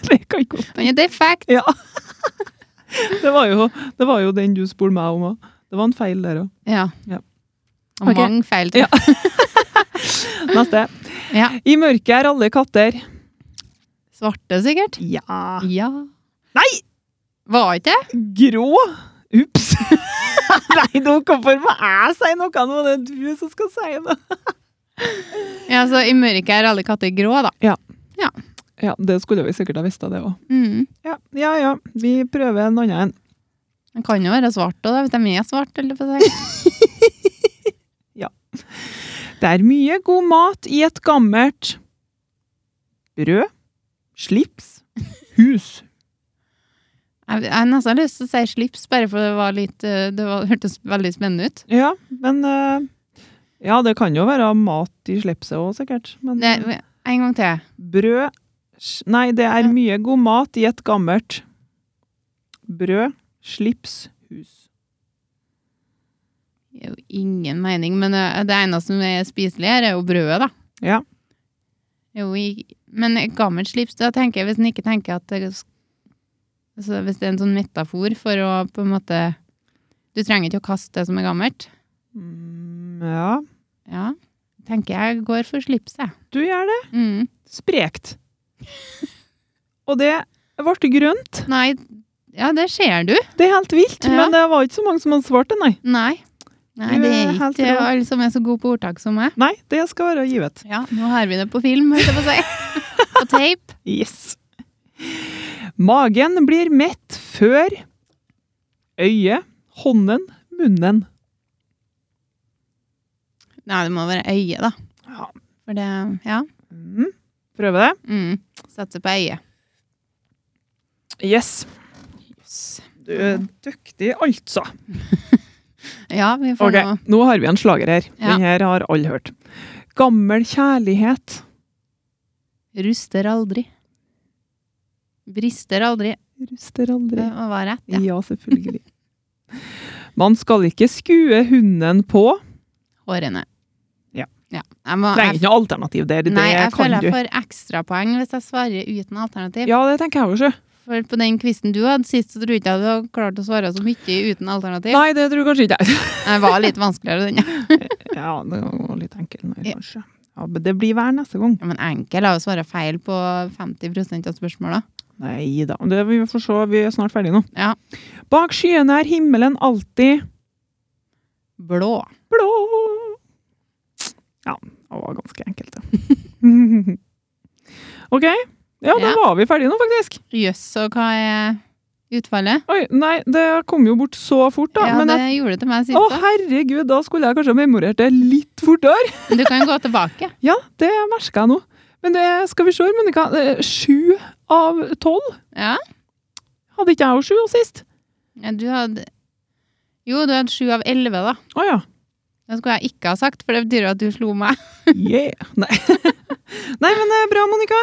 Speaker 2: Det kan ikke gå.
Speaker 1: Den er defekt!
Speaker 2: Ja. Det var jo, det var jo den du spurte meg om òg. Det var en feil der òg.
Speaker 1: Ja.
Speaker 2: Ja.
Speaker 1: Og
Speaker 2: Ok.
Speaker 1: mange feil, tror jeg.
Speaker 2: Neste.
Speaker 1: Ja.
Speaker 2: I mørket er alle katter.
Speaker 1: Svarte, sikkert?
Speaker 2: Ja.
Speaker 1: Ja.
Speaker 2: Nei!
Speaker 1: Var ikke det?
Speaker 2: Grå. Ups. Nei, nå hvorfor må jeg si noe nå? Det er du som skal si noe.
Speaker 1: Ja, så i mørket er alle katter grå, da.
Speaker 2: Ja, det skulle vi sikkert ha visst av det òg.
Speaker 1: Mm.
Speaker 2: Ja, ja, ja. Vi prøver en annen en.
Speaker 1: Den kan jo være svart òg, hvis de er svarte, eller hva skal jeg si.
Speaker 2: Det er mye god mat i et gammelt brød, slips, hus.
Speaker 1: Jeg jeg har nesten lyst til å si slips, bare for det var litt eh, Det var, hørtes veldig spennende ut.
Speaker 2: Ja, men eh, Ja, det kan jo være mat i slipset òg, sikkert. Men
Speaker 1: Det, en gang til.
Speaker 2: brød, Sj- Nei, det
Speaker 1: Ja.
Speaker 2: er mye god mat i et gammelt brød, slips, hus.
Speaker 1: Det er jo ingen mening, men eh, det eneste som er spiselig her, er jo brødet, da.
Speaker 2: Ja.
Speaker 1: Det er Jo, i- men et gammelt slips, da tenker jeg, hvis en ikke tenker at det, altså, Hvis det er en sånn metafor for å på en måte Du trenger ikke å kaste det som er gammelt.
Speaker 2: Mm, ja,
Speaker 1: Ja. Tenker jeg går for slipset.
Speaker 2: du gjør det.
Speaker 1: Mm.
Speaker 2: Sprekt. Og det ble grønt.
Speaker 1: Nei, ja, det ser du.
Speaker 2: Det er helt vilt,
Speaker 1: Ja.
Speaker 2: men det var ikke så mange som hadde svart det, nei.
Speaker 1: Nei. Nei,
Speaker 2: Du
Speaker 1: det
Speaker 2: er
Speaker 1: er
Speaker 2: helt
Speaker 1: ikke
Speaker 2: rå.
Speaker 1: alle som er så gode på ordtak som meg.
Speaker 2: Nei, det skal være givet.
Speaker 1: Ja, nå har vi det på film, holdt jeg på å si. På tape.
Speaker 2: Yes. Magen blir mett før øyet, hånden, munnen.
Speaker 1: Nei, det må være øye, da.
Speaker 2: Ja.
Speaker 1: For det Ja.
Speaker 2: Mm. Prøve det.
Speaker 1: Mm. Satser på øye.
Speaker 2: Yes. Du er dyktig, altså.
Speaker 1: Ja, vi får
Speaker 2: Ok,
Speaker 1: nå
Speaker 2: nå har vi en slager her.
Speaker 1: Ja.
Speaker 2: Den her har alle hørt. Gammel kjærlighet
Speaker 1: Ruster aldri. Brister aldri.
Speaker 2: ruster aldri.
Speaker 1: Det var rett,
Speaker 2: Ja,
Speaker 1: ja.
Speaker 2: selvfølgelig. Man skal ikke skue hunden på.
Speaker 1: Hårene.
Speaker 2: Ja.
Speaker 1: Jeg må,
Speaker 2: Trenger ikke noe alternativ der. Det
Speaker 1: Nei, jeg
Speaker 2: kan
Speaker 1: føler
Speaker 2: du.
Speaker 1: jeg får ekstrapoeng hvis jeg svarer uten alternativ.
Speaker 2: Ja, det tenker jeg også.
Speaker 1: For på den quizen du hadde sist, så tror jeg ikke jeg du hadde klart å svare så mye uten alternativ.
Speaker 2: Nei, det tror jeg kanskje ikke jeg.
Speaker 1: Den var litt vanskeligere, den. ja.
Speaker 2: Ja, det var litt enkelt nå,
Speaker 1: Ja.
Speaker 2: kanskje. Ja, men det blir hver neste gang.
Speaker 1: Ja, Men enkel er å svare feil på 50 av spørsmåla.
Speaker 2: Nei da. Det vi får se. Vi er snart ferdige nå.
Speaker 1: Ja.
Speaker 2: Bak skyene er himmelen alltid
Speaker 1: Blå.
Speaker 2: blå. Ja, det var ganske enkelt, det. OK. Ja, da
Speaker 1: Ja.
Speaker 2: var vi ferdige nå, faktisk.
Speaker 1: Jøss, og hva er utfallet?
Speaker 2: Oi, nei, det kom jo bort så fort, da.
Speaker 1: Ja,
Speaker 2: men
Speaker 1: det
Speaker 2: jeg,
Speaker 1: gjorde det til meg
Speaker 2: å,
Speaker 1: sist. da.
Speaker 2: herregud, da skulle jeg kanskje ha memorert det litt fortere.
Speaker 1: Men du kan jo gå tilbake.
Speaker 2: Ja, det merker jeg nå. Men det skal vi se, Monica. eh, Sju av tolv.
Speaker 1: Ja.
Speaker 2: Hadde ikke jeg jo sju sist?
Speaker 1: Ja, Du hadde Jo, du hadde sju av elleve, da.
Speaker 2: Å ja.
Speaker 1: Det skulle jeg ikke ha sagt, for det betyr jo at du slo meg.
Speaker 2: Yeah. Nei. nei, men eh, bra, Monica.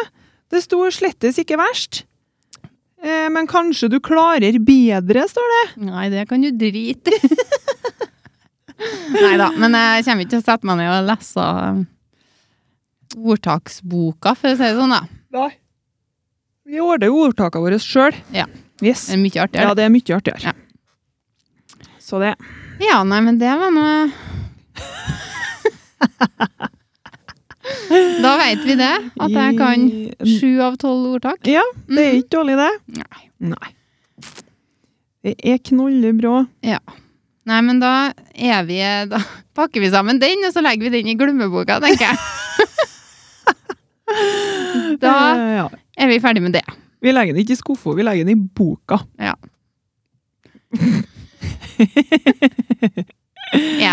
Speaker 2: Det sto slettes ikke verst. Eh, men kanskje du klarer bedre, står det.
Speaker 1: Nei, det kan du drite i. Nei da, men jeg kommer ikke til å sette meg ned og lese um, ordtaksboka, for å si det sånn, da.
Speaker 2: Nei. Vi ordner jo ordtakene våre sjøl.
Speaker 1: Ja.
Speaker 2: Yes.
Speaker 1: Det er mye
Speaker 2: Ja,
Speaker 1: artigere.
Speaker 2: det er mye artigere. Så det
Speaker 1: Ja, ja nei, men det var noe Da veit vi det, at jeg kan
Speaker 2: I-
Speaker 1: sju av tolv Mm. ordtak.
Speaker 2: Mm. Ja, det er ikke dårlig, det.
Speaker 1: Nei.
Speaker 2: Nei. Det er knollebra.
Speaker 1: Nei, men da er vi Da pakker vi sammen den, og så legger vi den i glemmeboka, tenker jeg. da
Speaker 2: Eh, ja.
Speaker 1: er vi ferdig med det.
Speaker 2: Vi legger den ikke i skuffa, vi legger den i boka.
Speaker 1: Er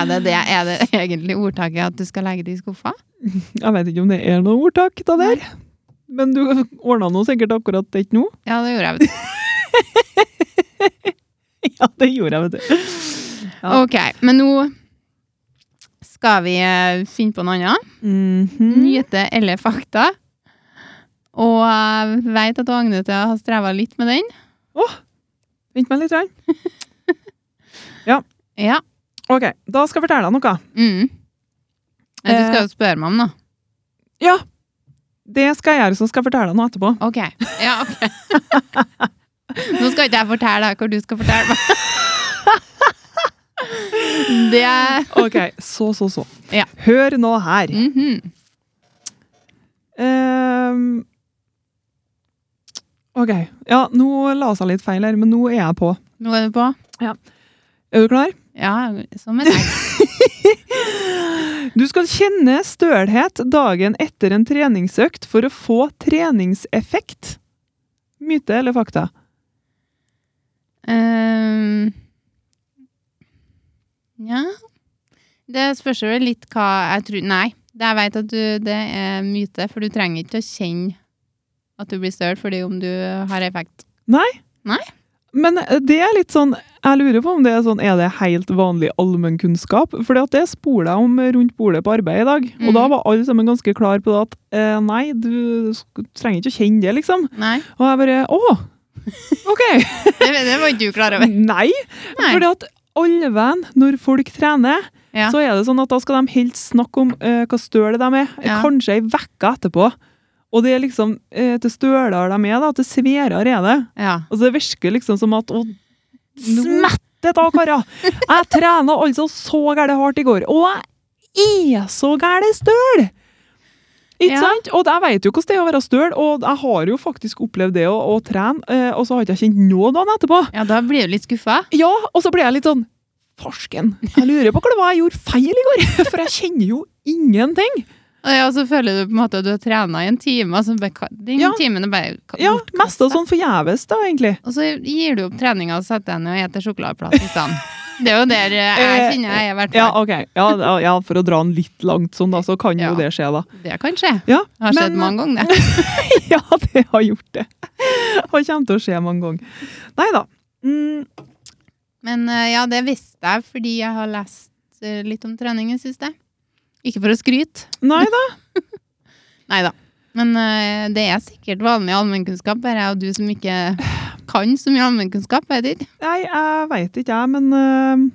Speaker 1: det det? Er det egentlig ordtaket at du skal legge det i skuffa?
Speaker 2: Jeg vet ikke om det er noe ordtak da der. Men du ordna nå sikkert akkurat det ikke nå.
Speaker 1: Ja, det gjorde jeg. vet du.
Speaker 2: Ja, det gjorde jeg, vet du. Ja.
Speaker 1: Ok, men nå skal vi eh, finne på noe annet.
Speaker 2: Mhm.
Speaker 1: Nyte eller fakta. Og jeg vet at Agnete har streva litt med den.
Speaker 2: Vent meg litt. Her.
Speaker 1: Ja.
Speaker 2: Ok, da skal jeg fortelle deg noe.
Speaker 1: Mm. Ja, Du
Speaker 2: Eh.
Speaker 1: skal jo spørre meg om noe.
Speaker 2: Ja, det skal jeg gjøre, så skal jeg fortelle deg noe etterpå.
Speaker 1: Ok. Ja, ok. Nå skal ikke jeg fortelle deg hva du skal fortelle meg. Det
Speaker 2: Ok, Mm. så, så, så.
Speaker 1: Ja.
Speaker 2: Hør nå her.
Speaker 1: Mhm.
Speaker 2: Ehm, ok. Ja, nå la jeg litt feil her, men nå er jeg på.
Speaker 1: Nå er du på?
Speaker 2: Er du klar?
Speaker 1: Ja, som en egg.
Speaker 2: Du skal kjenne stølhet dagen etter en treningsøkt for å få treningseffekt. Myte eller fakta?
Speaker 1: Ehm, ja Det spørs jo litt hva jeg tror Nei, det jeg vet at du, det er myte, for du trenger ikke å kjenne at du blir støl fordi om du har effekt.
Speaker 2: Men det er litt sånn Jeg lurer på om det er sånn Er det helt vanlig allmennkunnskap? For det spoler jeg om rundt bordet på arbeid i dag. Og
Speaker 1: Mm.
Speaker 2: da var alle sammen ganske klar på det at eh, nei, du sk- trenger ikke å kjenne det, liksom.
Speaker 1: Nei,
Speaker 2: Og jeg bare Å! OK!
Speaker 1: det, det var ikke du klar over.
Speaker 2: nei!
Speaker 1: Nei.
Speaker 2: Fordi at allven, når folk trener,
Speaker 1: Ja.
Speaker 2: så er det sånn at da skal de helst snakke om eh, hva støle de er,
Speaker 1: Ja.
Speaker 2: kanskje ei uke etterpå. Og det er liksom eh, til stølere de er, da, til sverere er det.
Speaker 1: Ja.
Speaker 2: Altså, det virker liksom som at å, nå- Smette ta, karer! Jeg trena altså så gæle hardt i går, og jeg er så gæle støl! Ikke
Speaker 1: Ja.
Speaker 2: sant? Og jeg vet jo hvordan det er å være støl, og jeg har jo faktisk opplevd det å, å trene, eh, og så har ikke jeg kjent noe dagen etterpå.
Speaker 1: Ja, da blir du litt skuffa.
Speaker 2: Ja, og så ble jeg litt sånn Farsken, jeg lurer på hva det var jeg gjorde feil i går, for jeg kjenner jo ingenting.
Speaker 1: Og ja, og så føler du på en måte at du har trena i en time, og så bare ka- den
Speaker 2: Ja.
Speaker 1: timen er bare ka-
Speaker 2: Ja,
Speaker 1: bortkastet.
Speaker 2: Mest av sånn forgjeves, da, egentlig.
Speaker 1: Og så gir du opp treninga og setter deg ned og spiser sjokoladeplass i stedet. Det er jo der eh, jeg
Speaker 2: Eh,
Speaker 1: kjenner jeg er, i hvert
Speaker 2: Ja,
Speaker 1: fall.
Speaker 2: ok. Ja, da- ja, for å dra den litt langt sånn, da, så kan
Speaker 1: Ja.
Speaker 2: jo det skje, da.
Speaker 1: Det kan skje.
Speaker 2: Ja,
Speaker 1: Det har skjedd
Speaker 2: men- eh,
Speaker 1: mange ganger, det.
Speaker 2: Ja, det har gjort det. Og kommer til å skje mange ganger. Nei da. Mm,
Speaker 1: Men eh, ja, det visste jeg fordi jeg har lest eh, litt om trening i det siste. Ikke for å skryte.
Speaker 2: nei da.
Speaker 1: Nei da. Men eh, det er sikkert vanlig allmennkunnskap, bare jeg og du som ikke kan så mye allmennkunnskap, vet ikke.
Speaker 2: Nei, jeg veit ikke, jeg. Men eh,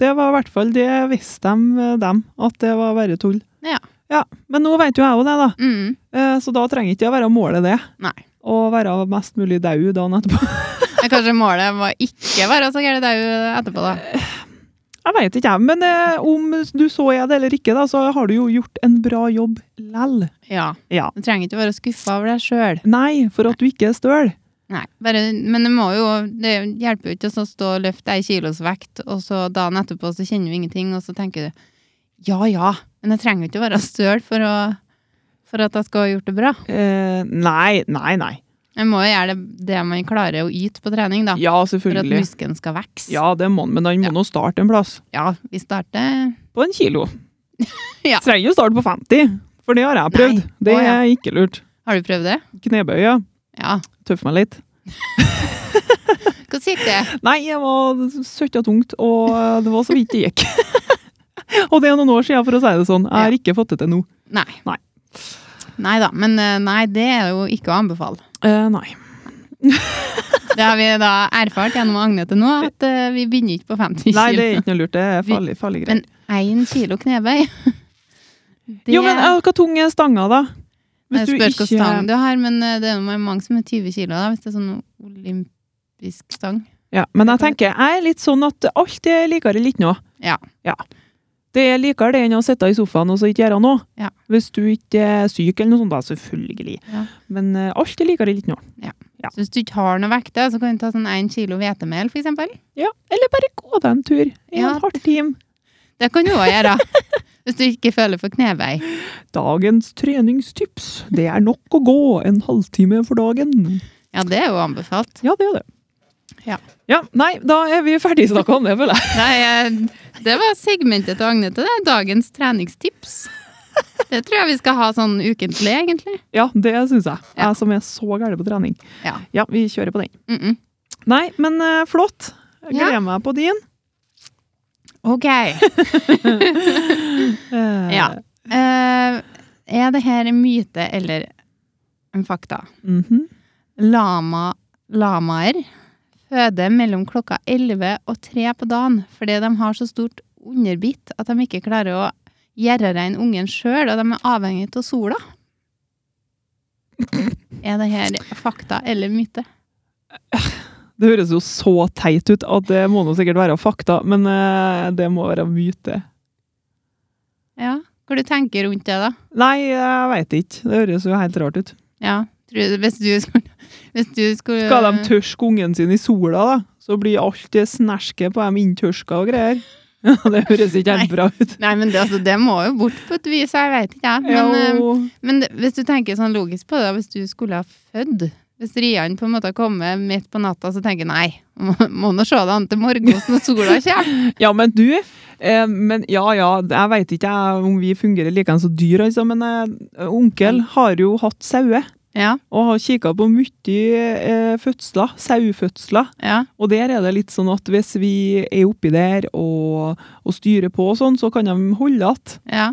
Speaker 2: det var i hvert fall det visste de, eh, dem, at det var bare tull.
Speaker 1: Ja.
Speaker 2: ja. Men nå veit jo jeg òg det, da.
Speaker 1: Mm.
Speaker 2: Eh, Så da trenger ikke det å være målet, det.
Speaker 1: Nei.
Speaker 2: Å være mest mulig daud dagen etterpå.
Speaker 1: Men Kanskje målet var ikke være så gæren dau etterpå, da.
Speaker 2: Jeg veit ikke, jeg. Men eh, om du så er det eller ikke, da, så har du jo gjort en bra jobb lell.
Speaker 1: Ja.
Speaker 2: Ja.
Speaker 1: Du trenger ikke å være skuffa over deg sjøl.
Speaker 2: Nei, for at du ikke er støl.
Speaker 1: Nei, bare, men det må jo Det hjelper jo ikke å så stå og løfte ei kilos vekt, og så dagen etterpå så kjenner du ingenting, og så tenker du ja ja, men jeg trenger jo ikke å være støl for, å, for at jeg skal ha gjort det bra.
Speaker 2: Eh, nei, nei, nei.
Speaker 1: Jeg må jo gjøre det, det man klarer å yte på trening, da.
Speaker 2: Ja,
Speaker 1: for at
Speaker 2: selvfølgelig.
Speaker 1: muskelen skal vokse.
Speaker 2: Ja, det må han, men han må nå starte en plass.
Speaker 1: Ja, vi starter
Speaker 2: På en kilo.
Speaker 1: Ja.
Speaker 2: Trenger jo starte på 50, for det har jeg prøvd.
Speaker 1: Nei. Å,
Speaker 2: Det
Speaker 1: ja.
Speaker 2: er ikke lurt.
Speaker 1: Har du prøvd det?
Speaker 2: Knebøye.
Speaker 1: Ja.
Speaker 2: Tøff meg litt.
Speaker 1: Hvordan gikk det?
Speaker 2: Nei, jeg var søtt og tungt, og det var så vidt det gikk. og det er noen år siden, for å si det sånn. Jeg har ikke fått det til nå.
Speaker 1: Nei.
Speaker 2: Nei.
Speaker 1: Nei da. Men eh, nei, det er jo ikke å anbefale.
Speaker 2: Eh, nei.
Speaker 1: Det har vi da erfart gjennom Agne til nå, at eh, vi begynner ikke på 50 kilo.
Speaker 2: nei, det er ikke noe lurt. Det er farlig, farlig greit.
Speaker 1: Men én kilo knebøy det,
Speaker 2: Jo, men eh, hva tung er stanga, da?
Speaker 1: Jeg spørs hva stang du har, men eh, det er jo mange som er 20 kilo, da, hvis det er sånn olympisk stang.
Speaker 2: Ja, men jeg tenker, jeg er litt sånn at alt er likere litt nå.
Speaker 1: Ja.
Speaker 2: Det er likere det enn å sitte i sofaen og så ikke gjøre noe.
Speaker 1: Ja.
Speaker 2: Hvis du ikke er syk eller noe sånt, da selvfølgelig.
Speaker 1: Ja.
Speaker 2: Men eh, alt er likere litt nå.
Speaker 1: Så hvis du ikke har noe vekter, så kan du ta sånn én kilo hvetemel, for eksempel.
Speaker 2: Ja, eller bare gå deg en tur i
Speaker 1: Ja.
Speaker 2: en halv time.
Speaker 1: Det kan du òg gjøre. Hvis du ikke føler for knebøy.
Speaker 2: Dagens treningstips. Det er nok å gå en halvtime for dagen.
Speaker 1: Ja, det er jo anbefalt.
Speaker 2: Ja, det er det.
Speaker 1: Ja.
Speaker 2: Ja, nei, da er vi ferdig snakket om det, føler jeg.
Speaker 1: Nei, eh, det var segmentet til Agne til det. Dagens treningstips. Det tror jeg vi skal ha sånn ukentlig, egentlig.
Speaker 2: Ja, det synes jeg.
Speaker 1: Ja.
Speaker 2: Jeg som er så gæren på trening.
Speaker 1: Ja.
Speaker 2: Ja, vi kjører på den.
Speaker 1: Mm -mm.
Speaker 2: Nei, men eh, flott. Jeg
Speaker 1: Ja.
Speaker 2: gleder meg på din.
Speaker 1: Ok.
Speaker 2: Eh,
Speaker 1: Ja. Eh, er det her en myte eller en fakta?
Speaker 2: mhm.
Speaker 1: Lama, lamaer føder mellom klokka 11 og 3 på dagen fordi de har så stort underbitt at de ikke klarer å gjøre rein ungen sjøl, og de er avhengig av sola. Er det her fakta eller myte?
Speaker 2: Det høres jo så teit ut at det må nå sikkert være fakta, men eh, det må være myte.
Speaker 1: Ja. Hva du tenker rundt det, da?
Speaker 2: Nei, jeg veit ikke. Det høres jo helt rart ut.
Speaker 1: Ja, tror du, Hvis du skulle hvis du skulle,
Speaker 2: Skal de tørske ungen sin i sola, da, så blir alt det snersket på dem inntørska og greier. det høres ikke helt bra ut.
Speaker 1: Nei, men det, altså, det må jo bort på et vis, jeg vet ikke, jeg. Men, eh,
Speaker 2: Jo.
Speaker 1: Men det- hvis du tenker sånn logisk på det, hvis du skulle ha født Hvis Rian på en måte kommer midt på natta, så tenker jeg nei, må, må nå se det an til morgenen når sola kommer.
Speaker 2: Ja, men du eh, men, Ja, ja, jeg veit ikke jeg, om vi fungerer like som dyr, altså, men eh, onkel har jo hatt sauer.
Speaker 1: Ja.
Speaker 2: og har kikka på mye eh, fødsler, sauefødsler.
Speaker 1: Ja.
Speaker 2: Og der er det litt sånn at hvis vi er oppi der og, og styrer på og sånn, så kan de holde att.
Speaker 1: ja.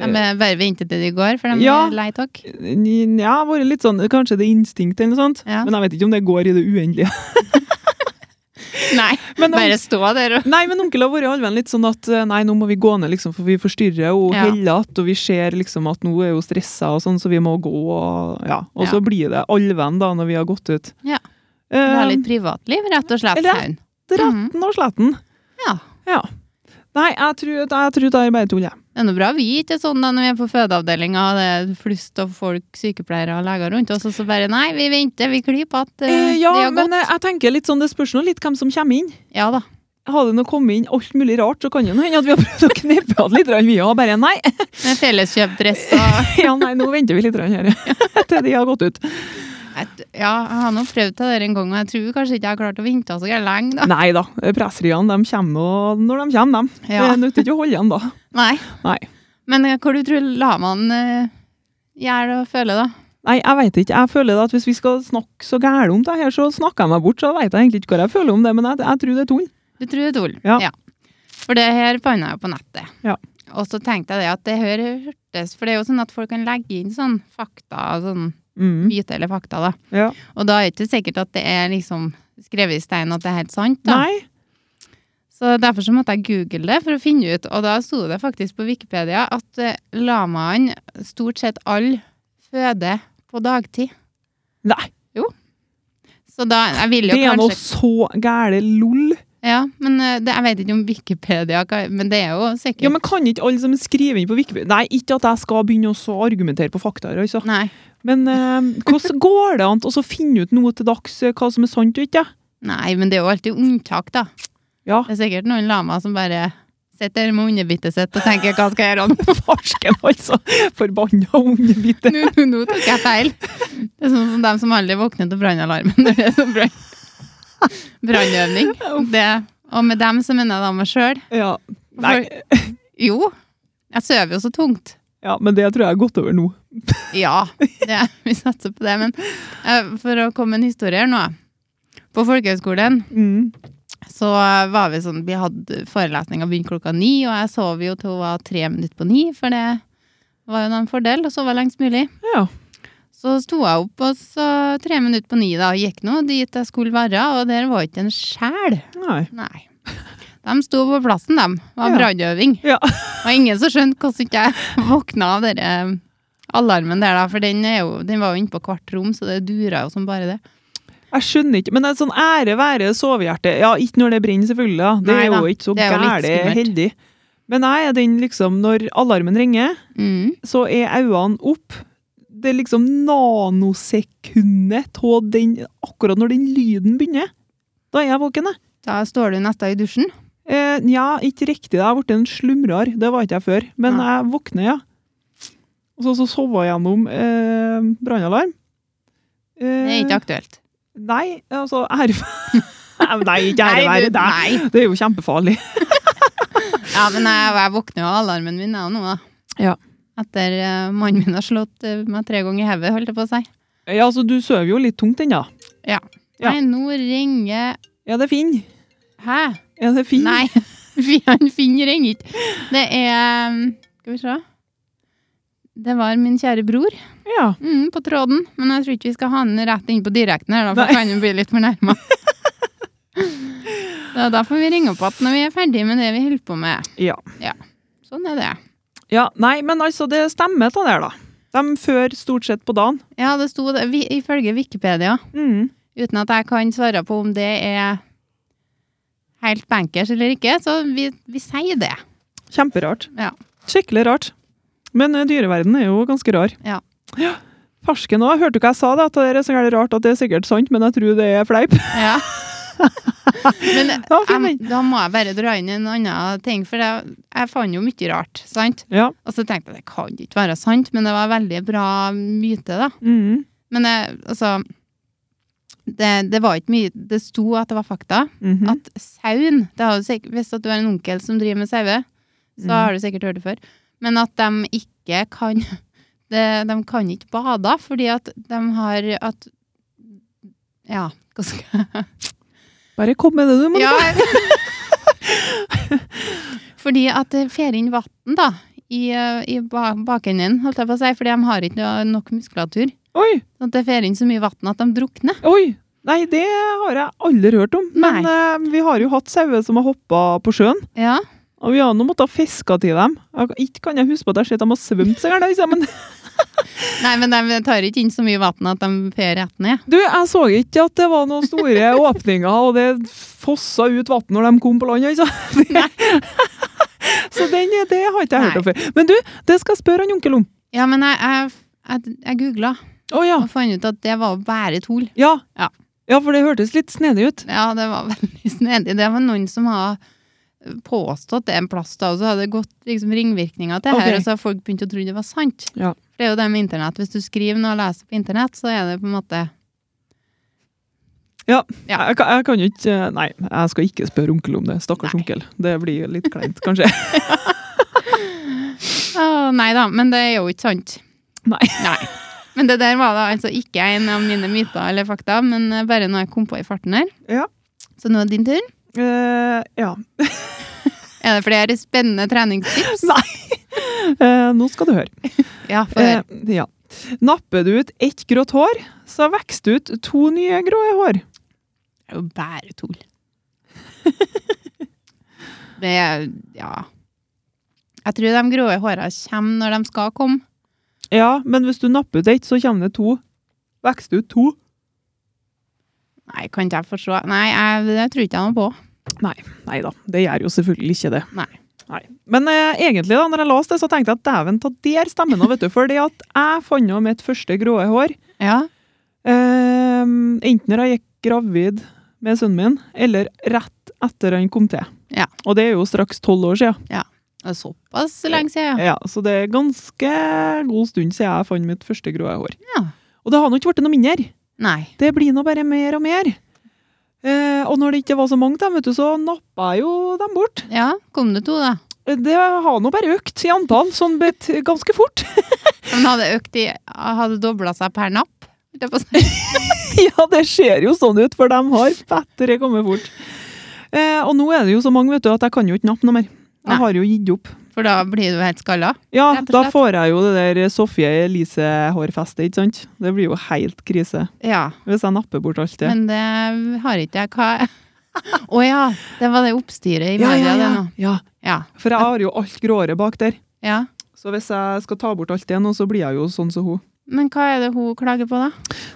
Speaker 1: ja men bare vente til de går, for de
Speaker 2: Eh. Ja.
Speaker 1: er lei takk.
Speaker 2: Ja, vært litt sånn Kanskje det er instinkt eller noe sånt,
Speaker 1: Ja.
Speaker 2: men jeg vet ikke om det går i det uendelige.
Speaker 1: Nei,
Speaker 2: Men om-
Speaker 1: bare stå der og
Speaker 2: Nei, men onkel har vært allvenn litt sånn at eh, nei, nå må vi gå ned, liksom, for vi forstyrrer og
Speaker 1: Ja.
Speaker 2: heller att, og vi ser liksom at nå er hun stressa og sånn, så vi må gå, og ja. Og så
Speaker 1: Ja.
Speaker 2: blir det allvenn da, når vi har gått ut.
Speaker 1: Ja. ha
Speaker 2: Eh,
Speaker 1: litt privatliv, rett og slett.
Speaker 2: Eller-
Speaker 1: sa hun.
Speaker 2: Retten og sletten.
Speaker 1: Mhm. Ja.
Speaker 2: Ja. Nei, jeg tror, jeg tror det er bare tull, jeg.
Speaker 1: Det er noe bra vi ikke er sånn da når vi er på fødeavdelinga og det er flust av folk, sykepleiere og leger rundt oss, og så bare nei, vi venter, vi klipper at eh,
Speaker 2: Eh, ja,
Speaker 1: det har gått.
Speaker 2: men eh, jeg tenker litt sånn, det spørs nå litt hvem som kommer inn.
Speaker 1: Ja da.
Speaker 2: Har det nå kommet inn alt mulig rart, så kan det jo hende at vi har prøvd å kneppe av litt, grann, vi òg. Bare nei.
Speaker 1: Med felleskjøpdress og
Speaker 2: Ja, nei, nå venter vi litt grann her til de har gått ut.
Speaker 1: Jeg t- Ja, jeg har nå prøvd det der en gang, og jeg tror kanskje ikke jeg har klart å vente så gærent lenge, da.
Speaker 2: Nei da, presseriene de kommer nå når de kommer, de.
Speaker 1: Ja.
Speaker 2: Det nytter ikke å holde igjen da.
Speaker 1: Nei.
Speaker 2: Nei.
Speaker 1: Men eh, hva du tror lamaen eh, gjør og føler, da?
Speaker 2: Nei, jeg vet ikke. Jeg føler at hvis vi skal snakke så gære om det her, så snakker jeg meg bort. Så jeg vet jeg egentlig ikke hva jeg føler om det, men jeg, jeg tror det er tull.
Speaker 1: Du tror det er tull?
Speaker 2: Ja.
Speaker 1: For det her fant jeg jo på nettet.
Speaker 2: Ja.
Speaker 1: Og så tenkte jeg det at det her hørtes For det er jo sånn at folk kan legge inn sånn fakta, sånn
Speaker 2: Mm.
Speaker 1: myte eller fakta, da.
Speaker 2: Ja.
Speaker 1: Og da er det ikke sikkert at det er liksom skrevet i stein at det er helt sant, da.
Speaker 2: Nei.
Speaker 1: Så derfor så måtte jeg google det for å finne ut, og da sto det faktisk på Wikipedia at eh, lamaen stort sett alle føder på dagtid.
Speaker 2: Nei.
Speaker 1: Så da, jeg vil jo
Speaker 2: Det er noe
Speaker 1: kanskje...
Speaker 2: så gære lol.
Speaker 1: Ja, men eh, det, jeg vet ikke om Wikipedia, hva- men det er jo sikkert...
Speaker 2: Ja, men kan ikke alle som skriver inn på Wikipedia Nei, ikke at jeg skal begynne også å argumentere på fakta her, altså.
Speaker 1: Nei,
Speaker 2: Men eh, hvordan går det an å så finne ut noe til dags eh, hva som er sant og ikke?
Speaker 1: nei, men det er jo alltid unntak da.
Speaker 2: Ja,
Speaker 1: Det er sikkert noen lama som bare sitter der med underbittet sitt og tenker, hva skal jeg gjøre nå?
Speaker 2: farsken altså. Forbanna hundebitte.
Speaker 1: Nå, nå, nå tok jeg feil. Det er sånn som dem som aldri våkner til brannalarmen. når det er sånn brann- Brannøvning. Det- Og med dem så mener jeg da meg sjøl.
Speaker 2: Ja. Nei,
Speaker 1: Jo, jeg sover jo så tungt.
Speaker 2: ja, men det tror jeg er gått over nå.
Speaker 1: Ja, det, vi satser på det. Men eh, for å komme med en historie her nå. På folkehøgskolen
Speaker 2: Mm.
Speaker 1: så var vi sånn, vi hadde forelesninga begynte klokka ni, og jeg sov jo til hun var tre minutter på ni, for det var jo da en fordel å sove lengst mulig.
Speaker 2: Ja.
Speaker 1: Så sto jeg opp og så tre minutter på ni da, og gikk nå dit jeg skulle være, og der var ikke en sjel.
Speaker 2: Nei.
Speaker 1: Nei. De sto på plassen, dem. Det var
Speaker 2: Ja.
Speaker 1: brannøving.
Speaker 2: Ja.
Speaker 1: Og ingen som skjønte hvordan ikke jeg våkna av dere alarmen der, da, for den, er jo, den var jo inne på hvert rom, så det dura jo som bare det.
Speaker 2: Jeg skjønner ikke, men det er sånn ære være sovehjerte. Ja, ikke når det brenner, selvfølgelig. da. Det
Speaker 1: Nei
Speaker 2: er
Speaker 1: da,
Speaker 2: jo ikke så
Speaker 1: det er jo litt
Speaker 2: gære
Speaker 1: skummelt.
Speaker 2: heldig. Men jeg er den liksom, når alarmen ringer,
Speaker 1: Mm.
Speaker 2: så er øynene opp. Det er liksom nanosekundet til den, akkurat når den lyden begynner. Da er jeg våken, jeg.
Speaker 1: Da står du nesten i dusjen.
Speaker 2: Eh, ja, ikke riktig, jeg har blitt en slumrer. Det var ikke jeg før. Men
Speaker 1: Nei.
Speaker 2: jeg våkner, ja. Og så, så sover jeg gjennom eh, brannalarm. Eh,
Speaker 1: Det er ikke aktuelt.
Speaker 2: Nei, altså ære... Nei, ikke ære
Speaker 1: Nei,
Speaker 2: være
Speaker 1: du-
Speaker 2: deg.
Speaker 1: nei.
Speaker 2: Det er jo kjempefarlig.
Speaker 1: Ja, men jeg, jeg våkner jo av alarmen min jeg, nå, da.
Speaker 2: Ja.
Speaker 1: Etter eh, mannen min har slått eh, meg tre ganger i hodet, holdt jeg på å si.
Speaker 2: Ja, altså, du sover jo litt tungt ennå. Ja.
Speaker 1: Nei, nå ringer
Speaker 2: Er det Finn?
Speaker 1: Hæ?
Speaker 2: Er det Finn?
Speaker 1: Nei, han Finn ringer ikke. Det er um, Skal vi se. Det var min kjære bror
Speaker 2: Ja.
Speaker 1: mm, på tråden, men jeg tror ikke vi skal ha han rett inn på direkten her, da, for
Speaker 2: Nei.
Speaker 1: kan han bli litt fornærma. Så da får vi ringe opp igjen når vi er ferdig med det vi holder på med.
Speaker 2: Ja.
Speaker 1: Sånn er det.
Speaker 2: ja. Nei, men altså, det stemmer det der, da. De før stort sett på dagen.
Speaker 1: Ja, det sto det, vi, ifølge Wikipedia,
Speaker 2: Mm.
Speaker 1: uten at jeg kan svare på om det er helt bankers eller ikke, så vi, vi sier det.
Speaker 2: Kjemperart.
Speaker 1: Ja.
Speaker 2: Skikkelig rart. Men eh, dyreverdenen er jo ganske rar.
Speaker 1: Ja.
Speaker 2: Ja. Farsken òg. Hørte du hva jeg sa? da? At det er så gærent rart at det er sikkert sant, men jeg tror det er fleip.
Speaker 1: Ja. Men
Speaker 2: Ja, fin
Speaker 1: jeg, da må jeg bare dra inn en annen ting, for jeg, jeg fant jo mye rart, sant?
Speaker 2: Ja.
Speaker 1: Og så tenkte jeg, det kan ikke være sant, men det var veldig bra myte, da.
Speaker 2: Mm.
Speaker 1: Men jeg, altså, det, det var ikke mye, det sto at det var fakta,
Speaker 2: Mhm.
Speaker 1: at sauen, det har du sikkert, hvis at du er en onkel som driver med saue, så
Speaker 2: Mm.
Speaker 1: har du sikkert hørt det før, men at de ikke kan det, de kan ikke bade fordi at de har at Ja, hva skal jeg
Speaker 2: Bare kom med det du må.
Speaker 1: ja. Fordi at det fer inn vann, da, i, eh, i ba- bakenden, holdt jeg på å si, fordi de har ikke noe- nok muskulatur.
Speaker 2: Oi,
Speaker 1: Sånn at det fer inn så mye vann at de drukner.
Speaker 2: oi. Nei, det har jeg aldri hørt om. Men eh, vi har jo hatt sauer som har hoppa på sjøen.
Speaker 1: Ja.
Speaker 2: Og vi har nå måttet fiske til dem. Jeg, ikke kan jeg huske på at jeg har sett dem har svømt seg gærent, liksom, men
Speaker 1: Nei, men de tar ikke inn så mye vann at de fer rett ned.
Speaker 2: du, jeg så ikke at det var noen store åpninger, og det fossa ut vann når de kom på land. Altså. Det, så den, eh, det har ikke jeg hørt om før. Men du, det skal jeg spørre han onkel om.
Speaker 1: Ja, men jeg, jeg, jeg, jeg googla
Speaker 2: Å ja.
Speaker 1: og fant ut at det var bare tull.
Speaker 2: Ja.
Speaker 1: Ja.
Speaker 2: ja, for det hørtes litt snedig ut.
Speaker 1: Ja, det var veldig snedig. Det var noen som har påstått det en plass da, og så hadde det gått liksom, ringvirkninger til
Speaker 2: Ok.
Speaker 1: her, og så har folk begynt å tro det var sant.
Speaker 2: Ja.
Speaker 1: Det er jo det med internett. Hvis du skriver noe og leser på internett, så er det på en måte Ja.
Speaker 2: Jeg, kan- jeg kan jo ikke eh, Nei, jeg skal ikke spørre onkel om det. Stakkars
Speaker 1: Nei.
Speaker 2: onkel. Det blir litt kleint, kanskje.
Speaker 1: Å, nei da, men det er jo ikke sant.
Speaker 2: Nei.
Speaker 1: Men det der var da altså ikke en av mine myter eller fakta, men eh, bare noe jeg kom på i farten her.
Speaker 2: Ja.
Speaker 1: Så nå er det din tur.
Speaker 2: Eh, ja.
Speaker 1: Er det flere spennende treningstips?
Speaker 2: Nei. Eh, nå skal du høre.
Speaker 1: Ja, for
Speaker 2: Eh, ja. Napper du ut ett grått hår, så vokser det ut to nye grå hår.
Speaker 1: Det er jo bare tull. det er Ja. Jeg tror de grå håra kommer når de skal komme.
Speaker 2: Ja, men hvis du napper ut ett, så kommer det to. Vokser det ut to?
Speaker 1: Nei, kan ikke jeg forstå. Nei, jeg, det tror ikke jeg noe på.
Speaker 2: Nei da, det gjør jo selvfølgelig ikke det.
Speaker 1: Nei.
Speaker 2: Nei. Men eh, egentlig, da når jeg leste det, så tenkte jeg at dæven, ta der stemmer nå, vet du. For det at jeg fant nå mitt første grå hår,
Speaker 1: Ja.
Speaker 2: eh, enten når jeg gikk gravid med sønnen min, eller rett etter han kom til.
Speaker 1: Ja.
Speaker 2: Og det er jo straks tolv år siden.
Speaker 1: Det er såpass lenge siden, ja.
Speaker 2: Ja, så det er ganske god stund siden jeg fant mitt første grå hår.
Speaker 1: Ja.
Speaker 2: Og det har nå ikke blitt noe mindre.
Speaker 1: Nei.
Speaker 2: Det blir nå bare mer og mer. Eh, og når det ikke var så mange dem, vet du, så nappa jeg jo dem bort. Eh,
Speaker 1: Ja, kom det to, da?
Speaker 2: Det har nå bare økt i antall, sånn bet ganske fort.
Speaker 1: Men hadde økt i Hadde dobla seg per napp? holdt jeg på å si.
Speaker 2: ja, det ser jo sånn ut, for de har fettere kommet fort. Eh, og nå er det jo så mange, vet du, at jeg kan jo ikke nappe noe mer.
Speaker 1: Nei.
Speaker 2: Jeg har jo gitt opp.
Speaker 1: For da blir du helt skalla?
Speaker 2: Ja,
Speaker 1: Rett og
Speaker 2: da
Speaker 1: slett.
Speaker 2: får jeg jo det der Sofie Elise-hårfestet, ikke sant? Det blir jo helt krise
Speaker 1: Ja.
Speaker 2: hvis jeg napper bort alt det.
Speaker 1: Men det har ikke jeg hva Å ja! Det var det oppstyret i
Speaker 2: ja,
Speaker 1: media,
Speaker 2: ja, ja,
Speaker 1: det nå.
Speaker 2: ja.
Speaker 1: Ja.
Speaker 2: For jeg har jo alt gråere bak der.
Speaker 1: ja.
Speaker 2: Så hvis jeg skal ta bort alt det nå, så blir jeg jo sånn som hun.
Speaker 1: Men hva er det hun klager på, da?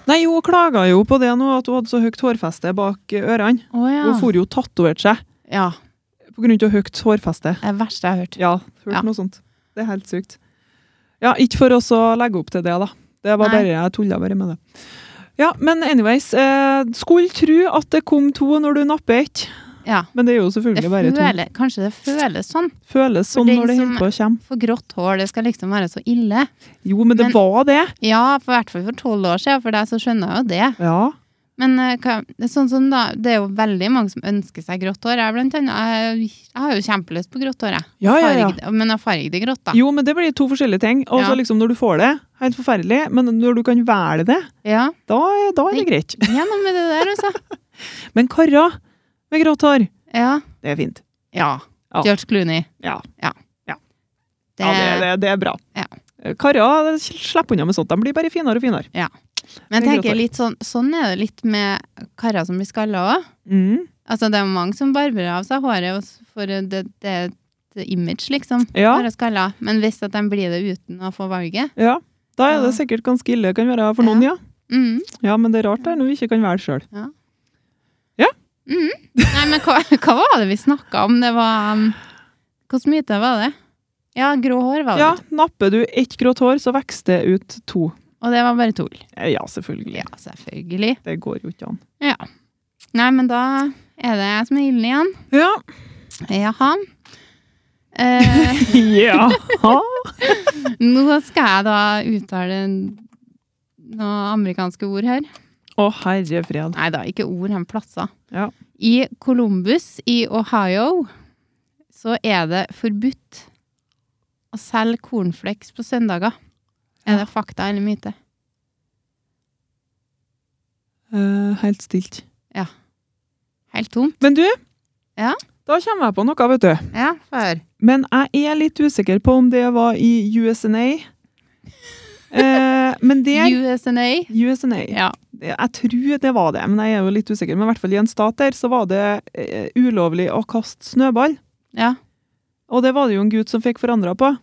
Speaker 2: Nei, hun klaga jo på det nå, at hun hadde så høyt hårfeste bak eh, ørene.
Speaker 1: Å ja.
Speaker 2: Hun får jo tatovert seg
Speaker 1: ja.
Speaker 2: på grunn av høyt hårfeste.
Speaker 1: Det er det verste jeg har hørt.
Speaker 2: Ja, hørt
Speaker 1: Ja.
Speaker 2: noe sånt. Det er helt sykt. Ja, ikke for oss å legge opp til det, da. Det var
Speaker 1: Nei.
Speaker 2: bare, Jeg tulla bare med det. Ja, men anyways. Eh, skulle tru at det kom to når du napper ett,
Speaker 1: Ja.
Speaker 2: men det er jo
Speaker 1: Det
Speaker 2: selvfølgelig bare to.
Speaker 1: føle, kanskje det føles sånn.
Speaker 2: Føles
Speaker 1: For
Speaker 2: sånn
Speaker 1: den
Speaker 2: når det
Speaker 1: som-
Speaker 2: holder på å komme.
Speaker 1: For grått hår, det skal liksom være så ille.
Speaker 2: Jo, men det
Speaker 1: Men-
Speaker 2: var det.
Speaker 1: Ja, for i hvert fall for tolv år siden, for deg så skjønner jeg jo det.
Speaker 2: Ja.
Speaker 1: Men eh, hva, det er sånn som da, det er jo veldig mange som ønsker seg grått hår. Jeg, blant annet, jeg, jeg har jo kjempelyst på grått hår, jeg.
Speaker 2: Ja, ja, ja.
Speaker 1: Farg- Men jeg farger det grått, da.
Speaker 2: Jo, men det blir to forskjellige ting. Og så
Speaker 1: Ja.
Speaker 2: liksom når du får det, helt forferdelig, men når du kan velge det,
Speaker 1: Ja,
Speaker 2: da, er- da er det greit.
Speaker 1: gjennom med det der, altså.
Speaker 2: Men karer med grått hår,
Speaker 1: Ja.
Speaker 2: det er fint.
Speaker 1: ja.
Speaker 2: Ja.
Speaker 1: George Clooney.
Speaker 2: Ja. Ja.
Speaker 1: Det,
Speaker 2: Ja, det, det, det er bra.
Speaker 1: Ja.
Speaker 2: Karer slipper unna med sånt. De blir bare finere og finere.
Speaker 1: Men
Speaker 2: det
Speaker 1: jeg
Speaker 2: er grått
Speaker 1: tenker
Speaker 2: hår.
Speaker 1: litt sånn, sånn er det litt med karer som blir skalla òg. Altså, det er jo mange som barberer av seg håret og s- for det, det, det image, liksom.
Speaker 2: Ja,
Speaker 1: Bare skalla. Men hvis at de blir det uten å få valget
Speaker 2: ja. Da er det
Speaker 1: Ja.
Speaker 2: sikkert ganske ille det kan være for noen, ja.
Speaker 1: mm.
Speaker 2: Ja, men det er rart det er når vi ikke kan velge sjøl.
Speaker 1: Mm. Nei, men hva, hva var det vi snakka om? Det var um, Hvilken myte var det? Ja, grå hår var det.
Speaker 2: Ja, napper du ett grått hår, så vokser det ut to.
Speaker 1: Og det var bare tull.
Speaker 2: Eh, Ja, selvfølgelig.
Speaker 1: Ja, selvfølgelig.
Speaker 2: Det går jo ikke an.
Speaker 1: Nei, men da er det jeg som er ilden igjen.
Speaker 2: Ja.
Speaker 1: Jaha. Eh,
Speaker 2: ja.
Speaker 1: nå skal jeg da uttale noen amerikanske ord her.
Speaker 2: Å, herre fred.
Speaker 1: Nei da, ikke ord, men plasser.
Speaker 2: Ja.
Speaker 1: I Columbus i Ohio så er det forbudt å selge cornflakes på søndager. Er det fakta eller myte?
Speaker 2: Eh, helt stilt.
Speaker 1: Helt tom?
Speaker 2: Men du,
Speaker 1: Ja?
Speaker 2: da kommer jeg på noe, vet du.
Speaker 1: Ja, før.
Speaker 2: Men jeg er litt usikker på om det var i USNA. Eh, men det
Speaker 1: USNA.
Speaker 2: USNA.
Speaker 1: Ja.
Speaker 2: Jeg tror det var det, men jeg er jo litt usikker. Men i hvert fall i en stat der så var det eh, ulovlig å kaste snøball.
Speaker 1: Ja.
Speaker 2: Og det var det jo en gud som fikk forandra på.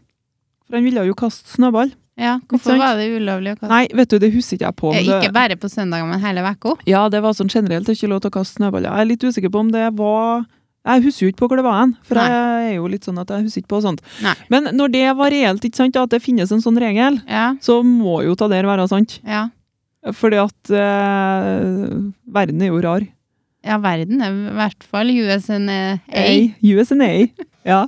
Speaker 2: For han ville jo kaste snøball.
Speaker 1: ja. Hvorfor
Speaker 2: sant?
Speaker 1: var det ulovlig å kaste?
Speaker 2: Nei, vet du, det husker ikke jeg på. om
Speaker 1: Eh,
Speaker 2: det-
Speaker 1: Ikke bare på søndager, men hele uka?
Speaker 2: Ja, det var sånn generelt ikke lov til å kaste snøballer. Jeg er litt usikker på om det var Jeg husker jo ikke på hvor det var hen, for jeg er jo litt sånn at jeg husker ikke på sånt.
Speaker 1: Nei.
Speaker 2: Men når det var reelt, ikke sant, at det finnes en sånn regel,
Speaker 1: Ja.
Speaker 2: så må jo ta der være sant.
Speaker 1: Ja.
Speaker 2: Fordi at eh, verden er jo rar.
Speaker 1: ja, verden er i hvert fall USNA.
Speaker 2: USNA. Ja.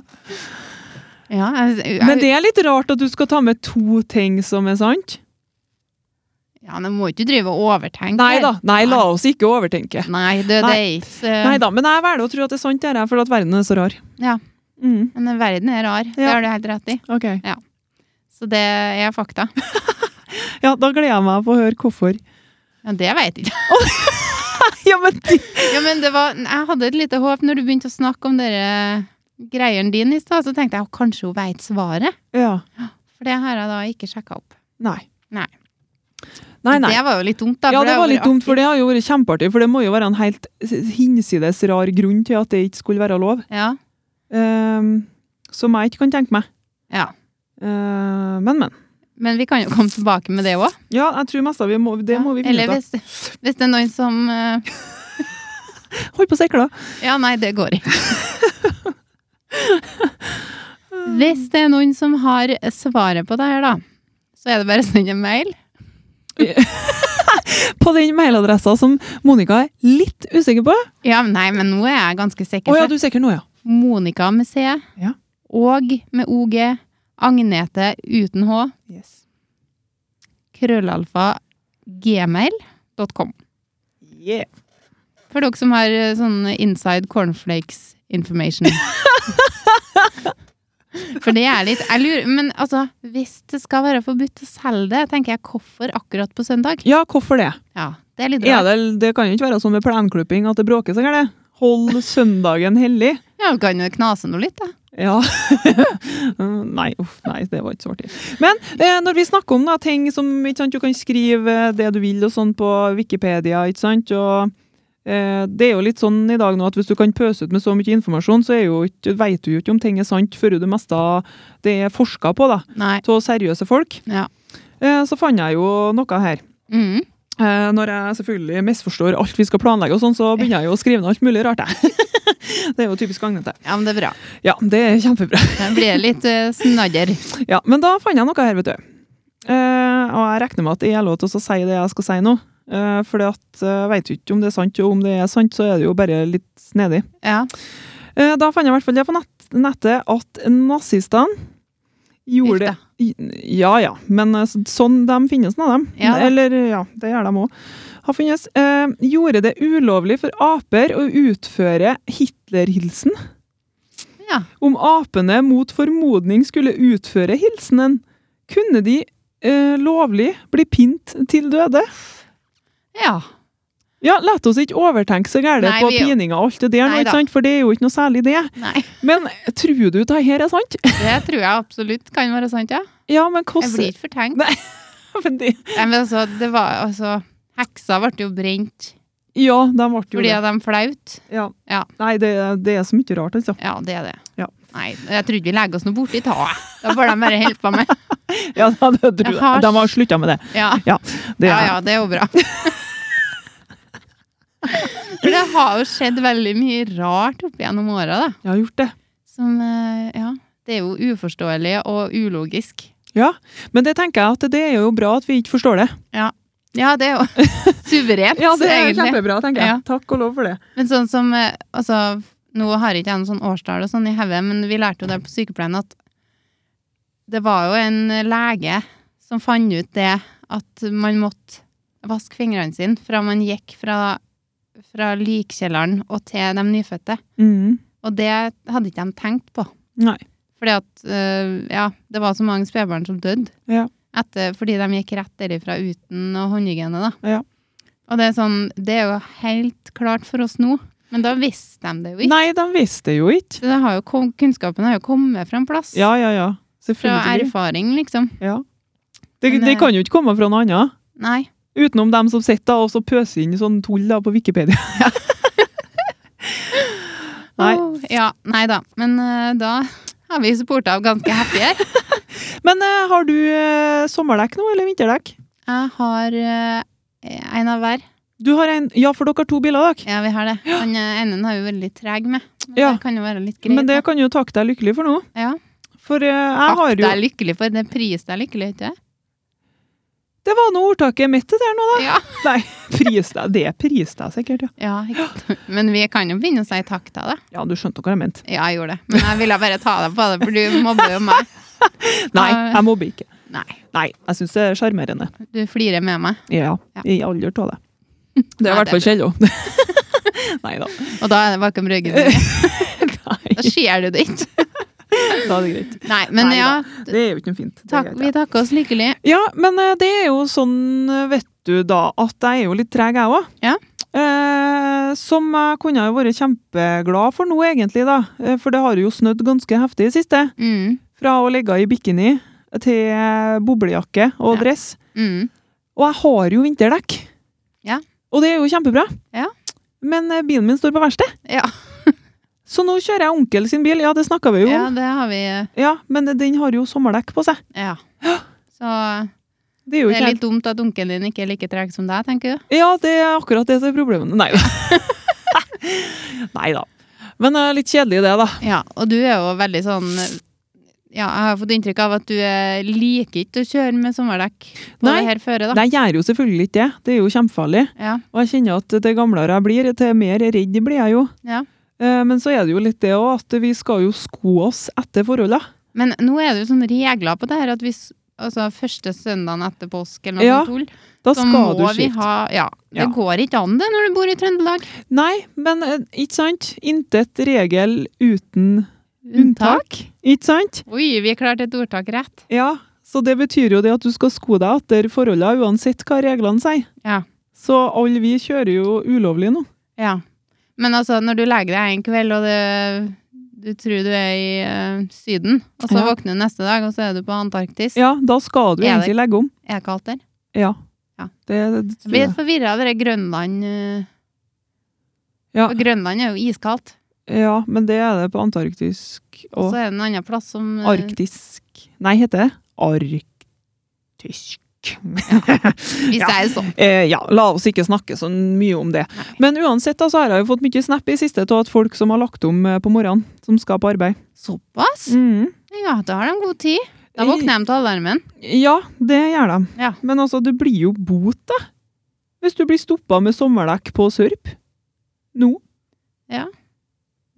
Speaker 1: Ja, jeg, jeg,
Speaker 2: E Men det er litt rart at du skal ta med to ting som er sant.
Speaker 1: ja, nå må ikke du drive og overtenke.
Speaker 2: Nei da. Nei, la oss ikke overtenke.
Speaker 1: Nei, det, det er
Speaker 2: Nei.
Speaker 1: ikke så-
Speaker 2: Nei da. Men jeg velger å tro at det er sant, det her, fordi at verden er så rar.
Speaker 1: Ja.
Speaker 2: Mm,
Speaker 1: Men verden er rar. Det
Speaker 2: Ja.
Speaker 1: har du helt rett i.
Speaker 2: ok.
Speaker 1: Så det er fakta.
Speaker 2: Ja, da gleder jeg meg på å høre hvorfor.
Speaker 1: Ja, det vet jeg ikke.
Speaker 2: Ja, men
Speaker 1: Ja, men det var, jeg hadde et lite håp når du begynte å snakke om dere greiene dine i stad. Så tenkte jeg at kanskje hun vet svaret.
Speaker 2: Ja.
Speaker 1: For det har jeg da ikke sjekka opp.
Speaker 2: Nei.
Speaker 1: Nei.
Speaker 2: Nei, nei.
Speaker 1: Det var jo litt dumt, da.
Speaker 2: ja,
Speaker 1: for
Speaker 2: det
Speaker 1: har
Speaker 2: var
Speaker 1: vært
Speaker 2: litt dumt, for
Speaker 1: artig.
Speaker 2: det har jo vært kjempeartig. For det må jo være en helt hinsides rar grunn til at det ikke skulle være lov.
Speaker 1: Ja.
Speaker 2: Ehm, som jeg ikke kan tenke meg.
Speaker 1: ja.
Speaker 2: Ehm, men, men.
Speaker 1: Men vi kan jo komme tilbake med det òg.
Speaker 2: Ja, jeg tror mest av vi må, det må vi finne
Speaker 1: Eller
Speaker 2: ut av.
Speaker 1: hvis, hvis det er noen som eh,
Speaker 2: Hold på å sikle!
Speaker 1: Ja, nei, det går ikke. Hvis det er noen som har svaret på det her, da, så er det bare å sende en mail.
Speaker 2: På den mailadressa som Monica er litt usikker på.
Speaker 1: Ja, men nei, men nå er jeg ganske
Speaker 2: Å
Speaker 1: sikker.
Speaker 2: ja,
Speaker 1: for
Speaker 2: du er sikker nå, ja.
Speaker 1: Monica med C
Speaker 2: Ja.
Speaker 1: og med OG. Agnete uten H.
Speaker 2: Yes.
Speaker 1: Krøllalfa gmail.com.
Speaker 2: Yeah.
Speaker 1: For dere som har eh, sånn inside cornflakes information. For det er litt Jeg lurer Men altså, hvis det skal være forbudt å selge det, tenker jeg hvorfor akkurat på søndag?
Speaker 2: Ja, hvorfor det?
Speaker 1: Ja, det er litt
Speaker 2: Er
Speaker 1: rart.
Speaker 2: det, det kan jo ikke være sånn med plenklipping at det bråker seg, eller? Hold søndagen hellig.
Speaker 1: Ja, du kan jo knase noe litt, da.
Speaker 2: Ja. Mm, nei, uff, nei, det var ikke så artig. Men eh, når vi snakker om da, ting som ikke sant, Du kan skrive eh, det du vil og sånn på Wikipedia, ikke sant? Og, eh, det er jo litt sånn i dag nå at hvis du kan pøse ut med så mye informasjon, så er jo ikke, vet du jo ikke om ting er sant før det meste av det er forska på da,
Speaker 1: Nei.
Speaker 2: av seriøse folk.
Speaker 1: Ja.
Speaker 2: Eh, så fant jeg jo noe her.
Speaker 1: Mm.
Speaker 2: Eh, når jeg selvfølgelig misforstår alt vi skal planlegge, og sånn, så begynner jeg jo å skrive ned alt mulig rart. Jeg. det er jo typisk gagnete.
Speaker 1: Ja, men det er bra.
Speaker 2: Ja, det er kjempebra.
Speaker 1: Da blir det litt eh, snadder.
Speaker 2: Ja, men da fant jeg noe her, vet du. Eh, og jeg regner med at jeg er lov til å si det jeg skal si nå. Uh, for jeg vet jo ikke om det er sant, og om det er sant, så er det jo bare litt snedig.
Speaker 1: Ja.
Speaker 2: Eh, da fant jeg i hvert fall det på nett, nettet at nazistene
Speaker 1: Uff
Speaker 2: gjorde
Speaker 1: da.
Speaker 2: I- Ja ja, men eh, så- sånn de finnes nå, dem.
Speaker 1: Ja da.
Speaker 2: Eller ja, det gjør de òg. Har funnes. Eh, gjorde det ulovlig for aper å utføre Hitler-hilsen.
Speaker 1: ja.
Speaker 2: Om apene mot formodning skulle utføre hilsenen, kunne de eh, lovlig bli pint til døde.
Speaker 1: Ja.
Speaker 2: Ja, la oss ikke overtenke så gærent
Speaker 1: Nei,
Speaker 2: på
Speaker 1: vi-
Speaker 2: pininga og alt det der, nå,
Speaker 1: Nei da.
Speaker 2: ikke sant? for det er jo ikke noe særlig det.
Speaker 1: Nei.
Speaker 2: Men tror du det her er sant?
Speaker 1: Det tror jeg absolutt kan være sant, ja.
Speaker 2: Ja, men
Speaker 1: Jeg blir
Speaker 2: hvordan
Speaker 1: ikke fortenkt.
Speaker 2: Men det-
Speaker 1: Nei, men altså, det var altså Heksa ble jo brent
Speaker 2: Ja, de ble jo
Speaker 1: fordi
Speaker 2: det.
Speaker 1: at de flaut.
Speaker 2: Ja.
Speaker 1: Ja.
Speaker 2: Nei, det, det er så mye rart, altså.
Speaker 1: Ja, det er det.
Speaker 2: Ja.
Speaker 1: Nei, jeg tror ikke vi legger oss noe borti ta. Da får de bare hjelpe meg med.
Speaker 2: Ja, det tror jeg.
Speaker 1: Jeg har-
Speaker 2: De har slutta med det.
Speaker 1: Ja.
Speaker 2: det
Speaker 1: ja,
Speaker 2: er-
Speaker 1: ja, det er jo bra. For det har jo skjedd veldig mye rart opp gjennom åra, da.
Speaker 2: Jeg har gjort det.
Speaker 1: Som eh, Ja. Det er jo uforståelig og ulogisk.
Speaker 2: Ja, Men det tenker jeg at det er jo bra at vi ikke forstår det.
Speaker 1: Ja, det er jo suverent,
Speaker 2: Ja, det er
Speaker 1: egentlig.
Speaker 2: kjempebra, tenker jeg.
Speaker 1: Ja.
Speaker 2: Takk og lov for det.
Speaker 1: Men sånn som eh, Altså, nå har jeg ikke jeg noen sånn årstall og sånn i hodet, men vi lærte jo det på sykepleien at det var jo en lege som fant ut det at man måtte vaske fingrene sine fra man gikk fra, fra likkjelleren og til de nyfødte.
Speaker 2: Mm.
Speaker 1: Og det hadde ikke de tenkt på.
Speaker 2: Nei.
Speaker 1: Fordi at eh, ja, det var så mange spedbarn som døde.
Speaker 2: Ja.
Speaker 1: etter, fordi de gikk rett derifra uten noe håndhygiene. Da.
Speaker 2: Ja.
Speaker 1: Og det er, sånn, det er jo helt klart for oss nå, men da visste de det jo ikke.
Speaker 2: Nei, de visste jo ikke.
Speaker 1: Så det har jo, kom- kunnskapen har jo kommet fra en plass.
Speaker 2: Ja, ja, ja.
Speaker 1: fra
Speaker 2: Selvfølgelig.
Speaker 1: erfaring, liksom.
Speaker 2: Ja. Det,
Speaker 1: Men,
Speaker 2: det
Speaker 1: eh,
Speaker 2: kan jo ikke komme fra noe annet.
Speaker 1: Nei.
Speaker 2: Utenom dem som sitter da, og så pøser inn sånn tull da på Wikipedia. Nei.
Speaker 1: Åh, ja, nei da. Men eh, da har vi supporta av ganske heftig her.
Speaker 2: Men eh, har du eh, sommerdekk nå, eller vinterdekk?
Speaker 1: Jeg har eh, en av hver.
Speaker 2: Du har en, ja, for dere har to biler, dere.
Speaker 1: Ja, vi har det. Han eh, ene har jo veldig treg med. Men
Speaker 2: Ja.
Speaker 1: Det kan jo være litt greit.
Speaker 2: Men det
Speaker 1: da.
Speaker 2: kan jo takke deg lykkelig for nå.
Speaker 1: ja.
Speaker 2: For eh, jeg
Speaker 1: Takk,
Speaker 2: har
Speaker 1: det
Speaker 2: jo
Speaker 1: er lykkelig for. Det pris deg lykkelig, ikke sant?
Speaker 2: Det var nå ordtaket mitt, det der nå, da.
Speaker 1: Ja.
Speaker 2: Nei, pris deg. Det pris deg sikkert, ja.
Speaker 1: ja ikke sant? Men vi kan jo begynne å si takk til deg.
Speaker 2: Ja, du skjønte hva jeg mente.
Speaker 1: Ja, jeg gjorde det. Men jeg ville bare ta deg på det, for du mobber jo meg.
Speaker 2: Nei,
Speaker 1: Ja.
Speaker 2: jeg mobber ikke.
Speaker 1: Nei.
Speaker 2: Nei, jeg syns det er sjarmerende.
Speaker 1: Du flirer med meg.
Speaker 2: Ja.
Speaker 1: Ja.
Speaker 2: I alder av det. Det er i
Speaker 1: Nei,
Speaker 2: hvert fall Kjell òg. Nei da.
Speaker 1: Og da er det bakom ryggen din. Da
Speaker 2: Nei,
Speaker 1: ser du det ikke.
Speaker 2: da er det greit.
Speaker 1: Nei, men
Speaker 2: Nei
Speaker 1: ja.
Speaker 2: Det er jo ikke noe fint. Det er
Speaker 1: Takk,
Speaker 2: greit, ja.
Speaker 1: vi takker oss lykkelig.
Speaker 2: Ja, men eh, det er jo sånn, eh, vet du da, at jeg er jo litt treg, jeg òg.
Speaker 1: Ja.
Speaker 2: Eh, som jeg kunne ha vært kjempeglad for nå, egentlig, da. Eh, For det har jo snødd ganske heftig i det siste.
Speaker 1: Mm.
Speaker 2: Fra å ligge i bikini til eh, boblejakke og
Speaker 1: Ja.
Speaker 2: dress.
Speaker 1: Mm.
Speaker 2: Og jeg har jo vinterdekk.
Speaker 1: Ja.
Speaker 2: Og det er jo kjempebra.
Speaker 1: Ja.
Speaker 2: Men eh, bilen min står på verksted.
Speaker 1: Ja.
Speaker 2: Så nå kjører jeg onkel sin bil, ja, det snakka vi jo
Speaker 1: ja,
Speaker 2: om.
Speaker 1: det har vi.
Speaker 2: Ja, men den har jo sommerdekk på seg.
Speaker 1: Ja. Så
Speaker 2: Det er jo
Speaker 1: det
Speaker 2: ikke
Speaker 1: er
Speaker 2: helt
Speaker 1: litt dumt at onkelen din ikke er like treg som deg, tenker du.
Speaker 2: Ja, det er akkurat det som er problemet. Nei da. Nei da. Men eh, litt kjedelig det, da.
Speaker 1: Ja, og du er jo veldig sånn ja, Jeg har fått inntrykk av at du eh, liker ikke å kjøre med sommerdekk på
Speaker 2: Nei.
Speaker 1: det her føret, da.
Speaker 2: Nei, jeg gjør jo selvfølgelig ikke det. Det er jo kjempefarlig.
Speaker 1: Ja,
Speaker 2: Og jeg kjenner at det gamlere jeg blir, til mer redd blir jeg jo.
Speaker 1: ja.
Speaker 2: Eh, Men så er det jo litt det òg, at vi skal jo sko oss etter forholdene.
Speaker 1: Men nå er det jo sånne regler på det her at hvis altså, første søndagen etter påske eller noe
Speaker 2: Ja,
Speaker 1: sånt, tull,
Speaker 2: Da
Speaker 1: så
Speaker 2: skal
Speaker 1: må
Speaker 2: du
Speaker 1: vi
Speaker 2: skifte.
Speaker 1: ha Ja, det
Speaker 2: Ja.
Speaker 1: går ikke an det når du bor i Trøndelag.
Speaker 2: Nei, men eh, ikke sant? Intet regel uten unntak. Ikke sant?
Speaker 1: Oi, vi klarte et ordtak rett.
Speaker 2: Ja. Så det betyr jo det at du skal sko deg etter forholdene, uansett hva reglene sier.
Speaker 1: Ja.
Speaker 2: Så alle vi kjører jo ulovlig nå.
Speaker 1: Ja. Men altså, når du legger deg en kveld, og det, du tror du er i eh, Syden, og så
Speaker 2: Ja.
Speaker 1: våkner du neste dag, og så er du på Antarktis.
Speaker 2: Ja, da skal
Speaker 1: Er
Speaker 2: du
Speaker 1: det-
Speaker 2: egentlig legge om.
Speaker 1: Er det kaldt der?
Speaker 2: Ja.
Speaker 1: Ja.
Speaker 2: Det, det
Speaker 1: Jeg
Speaker 2: tror
Speaker 1: blir
Speaker 2: jeg.
Speaker 1: litt forvirra av det der Grønland. eh,
Speaker 2: Ja.
Speaker 1: Og Grønland er jo iskaldt.
Speaker 2: Ja, men det er det på antarktisk
Speaker 1: Og
Speaker 2: og
Speaker 1: så er det en annen plass som eh,
Speaker 2: arktisk. Nei, heter det arktisk?
Speaker 1: Hvis
Speaker 2: Ja.
Speaker 1: det er sånn.
Speaker 2: Eh, ja, la oss ikke snakke så mye om det.
Speaker 1: Nei.
Speaker 2: Men uansett da, så har jeg jo fått mye snap i siste av at folk som har lagt om eh, på morgenen, som skal på arbeid. Mm.
Speaker 1: Såpass? Ja, da har de god tid. Mm. Da våkner de til alarmen.
Speaker 2: Ja, det gjør de.
Speaker 1: Ja.
Speaker 2: Men altså, det blir jo bot, da. Hvis du blir stoppa med sommerdekk på Sørp. Nå.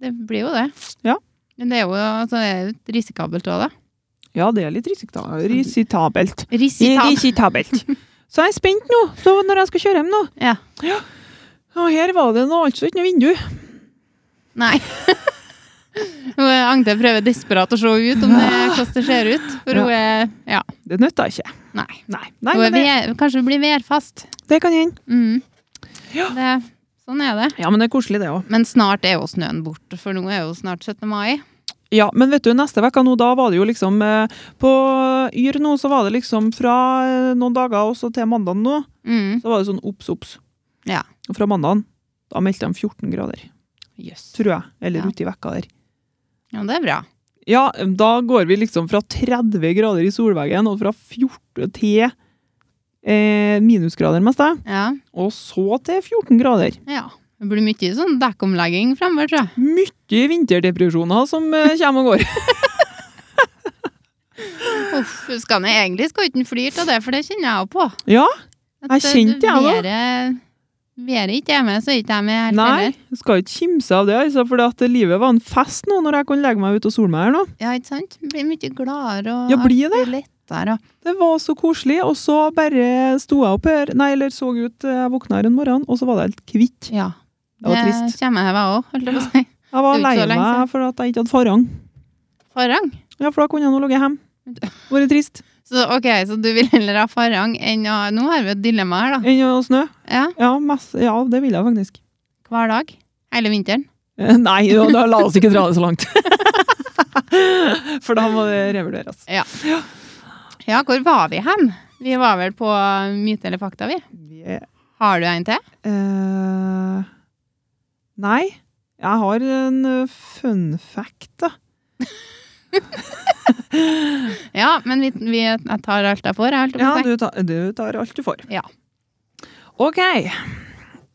Speaker 1: Det blir jo det.
Speaker 2: Ja.
Speaker 1: Men det er jo altså, det er jo litt risikabelt òg, da.
Speaker 2: Ja, det er litt risikta- risitabelt.
Speaker 1: Risikabelt.
Speaker 2: Irritabelt. Så jeg er spent nå, så når jeg skal kjøre hjem nå.
Speaker 1: Ja.
Speaker 2: Og her var det nå altså ikke noe vindu.
Speaker 1: Nei. Hun er- Agnete prøver desperat å se ut om det, hvordan det ser ut. For hun er Ja.
Speaker 2: Det nytta ikke.
Speaker 1: Nei.
Speaker 2: Nei, Nei
Speaker 1: Hun er
Speaker 2: men det,
Speaker 1: ved, kanskje hun blir værfast.
Speaker 2: det kan hende.
Speaker 1: Mm.
Speaker 2: Ja.
Speaker 1: Det, sånn er det.
Speaker 2: Ja, men det er koselig, det òg.
Speaker 1: Men snart er jo snøen borte, for nå er jo snart 17. mai.
Speaker 2: Ja, men vet du, neste uke nå, da var det jo liksom eh, På Yr nå, så var det liksom fra eh, noen dager og så til mandagen nå,
Speaker 1: Mm.
Speaker 2: så var det sånn obs, obs.
Speaker 1: Ja.
Speaker 2: Og fra mandagen, da meldte de 14 grader,
Speaker 1: Jøss.
Speaker 2: tror jeg. Eller
Speaker 1: Ja.
Speaker 2: uti vekka der.
Speaker 1: Ja, det er bra.
Speaker 2: Ja, da går vi liksom fra 30 grader i solveggen og fra 14 til eh, minusgrader mest, det.
Speaker 1: Ja.
Speaker 2: Og så til 14 grader.
Speaker 1: ja. Det blir mye sånn dekkomlegging fremover, tror jeg.
Speaker 2: Mye vinterdepresjoner som eh, kommer og går.
Speaker 1: Uff, skal han egentlig skal ikke han flire av det, for det kjenner jeg jo på.
Speaker 2: Ja,
Speaker 1: At,
Speaker 2: Jeg kjente det, jeg også.
Speaker 1: jeg, da. Været ikke er med, så er ikke jeg med helt
Speaker 2: nei,
Speaker 1: heller.
Speaker 2: jeg skal ikke kimse av det, altså, for at livet var en fest nå når jeg kunne legge meg ut og sole meg her nå.
Speaker 1: Ja, ikke sant? Blir mye gladere og
Speaker 2: Ja, blir det?
Speaker 1: artig lettere. og-
Speaker 2: Det var så koselig, og så bare sto jeg opp her, nei, eller så ut, eh, jeg våkna her en morgen, og så var det helt kvitt.
Speaker 1: Ja.
Speaker 2: Det var trist.
Speaker 1: kommer jeg meg òg, holdt jeg på å si.
Speaker 2: Jeg var
Speaker 1: Det er jo
Speaker 2: lei
Speaker 1: ikke så lenge
Speaker 2: meg
Speaker 1: siden.
Speaker 2: for at jeg ikke hadde forrang.
Speaker 1: Forrang.
Speaker 2: Ja, for da kunne jeg nå ligget hjemme. Vært trist.
Speaker 1: Så ok, så du vil heller ha farang enn å Nå har vi et dilemma her, da.
Speaker 2: Enn å snø?
Speaker 1: Ja,
Speaker 2: Ja, masse, ja, det vil jeg faktisk.
Speaker 1: Hver dag. Hele vinteren.
Speaker 2: Eh, Nei, jo, da la oss ikke dra det så langt. For da må det revurderes.
Speaker 1: Ja, hvor var vi hen? Vi var vel på myte eller fakta, vi. Har du en til?
Speaker 2: Eh, nei, jeg har en eh, fun fact, da.
Speaker 1: Ja, men vi, vi, jeg tar alt jeg får. Jeg holdt på
Speaker 2: Ja,
Speaker 1: å si.
Speaker 2: du tar, du tar alt du får.
Speaker 1: Ja.
Speaker 2: Ok.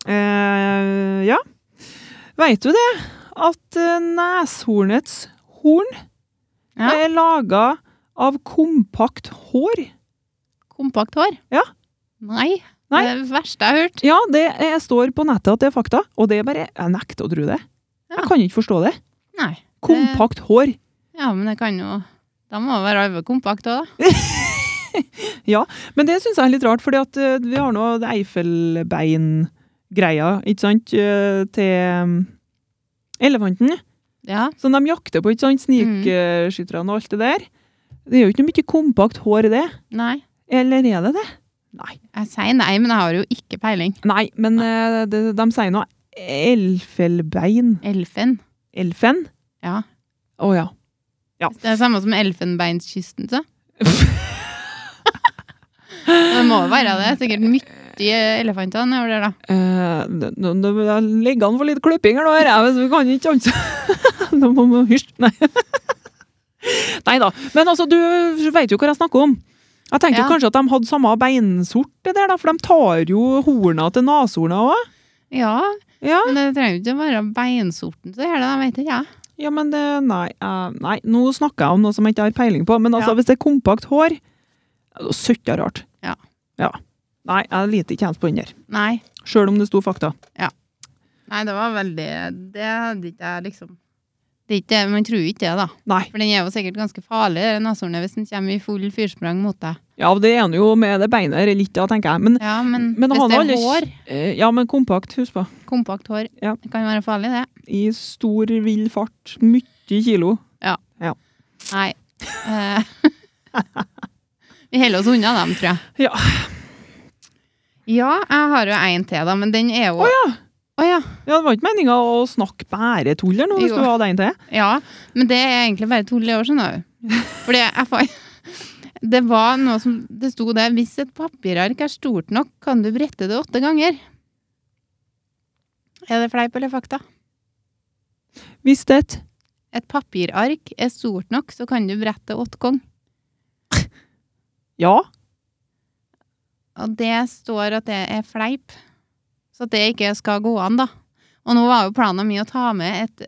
Speaker 2: Eh, ja. Veit du det? At eh, neshornets horn
Speaker 1: Ja.
Speaker 2: er laga av kompakt hår.
Speaker 1: Kompakt hår?
Speaker 2: Ja.
Speaker 1: Nei.
Speaker 2: Nei.
Speaker 1: Det er det verste jeg har hørt.
Speaker 2: Ja, det eh, står på nettet at det er fakta, og det er bare Jeg nekter å tro det.
Speaker 1: Ja.
Speaker 2: Jeg kan ikke forstå det.
Speaker 1: Nei.
Speaker 2: Kompakt hår.
Speaker 1: Ja, men det kan jo Da må det være arve kompakt òg, da.
Speaker 2: Men det syns jeg er litt rart, fordi at eh, vi har nå det Eiffelbein-greia, ikke sant, eh, til eh, elefanten.
Speaker 1: Ja.
Speaker 2: Som de jakter på, ikke sant, snikskytterne og alt det der. Det er jo ikke noe mye kompakt hår i det.
Speaker 1: Nei.
Speaker 2: Eller er det det? Nei.
Speaker 1: Jeg sier nei, men jeg har jo ikke peiling.
Speaker 2: Nei, men eh, det, de sier nå Elfelbein.
Speaker 1: Elfen.
Speaker 2: Elfen?
Speaker 1: Ja.
Speaker 2: Å ja.
Speaker 1: Det er det samme som elfenbeinskysten, så. det må jo være det. Sikkert mye elefanter nedover der, da.
Speaker 2: Eh, nå- nå- nå- Det ligger an for litt klipping her nå, her, jeg, vi kan ikke anse Nå må vi hysj. Nei. Nei da. Men altså, du vet jo hva jeg snakker om. Jeg tenkte
Speaker 1: Ja.
Speaker 2: jo kanskje at de hadde samme beinsort, det der, da, for de tar jo horna til neshorna òg.
Speaker 1: Ja,
Speaker 2: Ja.
Speaker 1: men det trenger jo ikke å være beinsorten så gjør det, da vet ikke jeg.
Speaker 2: ja, men det, nei, eh, nei, nå snakker jeg om noe som jeg ikke har peiling på, men altså,
Speaker 1: Ja.
Speaker 2: hvis det er kompakt hår da Søtt og rart.
Speaker 1: Ja.
Speaker 2: ja. Nei, jeg liter ikke helt på den der.
Speaker 1: Nei.
Speaker 2: Sjøl om det sto fakta.
Speaker 1: Nei, det var veldig Det hadde ikke jeg liksom det er ikke, Man tror jo ikke det, da.
Speaker 2: Nei.
Speaker 1: For den er jo sikkert ganske farlig, den neshornet, hvis den kommer i full fyrsprang mot deg.
Speaker 2: Ja, det er han jo med det beinet her litt, da, tenker jeg. Men
Speaker 1: Ja, men,
Speaker 2: Men
Speaker 1: hvis
Speaker 2: han
Speaker 1: det
Speaker 2: har
Speaker 1: er
Speaker 2: aldri-
Speaker 1: hår,
Speaker 2: Eh, Ja, men kompakt, husk på.
Speaker 1: kompakt hår,
Speaker 2: Ja.
Speaker 1: det kan være farlig, det.
Speaker 2: I stor, vill fart. Mye kilo.
Speaker 1: Nei. Eh, Vi holder oss unna dem, tror jeg.
Speaker 2: Ja.
Speaker 1: Ja, jeg har jo en til, da, men den er jo Å
Speaker 2: ja.
Speaker 1: ja.
Speaker 2: Ja, det var ikke meninga å snakke bare tull her nå, hvis
Speaker 1: Jo.
Speaker 2: du hadde en til.
Speaker 1: ja. Men det er egentlig bare tull i år, skjønner du. Fordi jeg fa- Det var noe som Det sto der Hvis et papirark er stort nok, kan du brette det åtte ganger. Er det fleip eller fakta?
Speaker 2: Hvis det er et
Speaker 1: Et papirark er stort nok, så kan du brette det åtte ganger.
Speaker 2: ja,
Speaker 1: Og det står at det er fleip. Så at det ikke skal gå an, da. Og nå var jo planen min å ta med et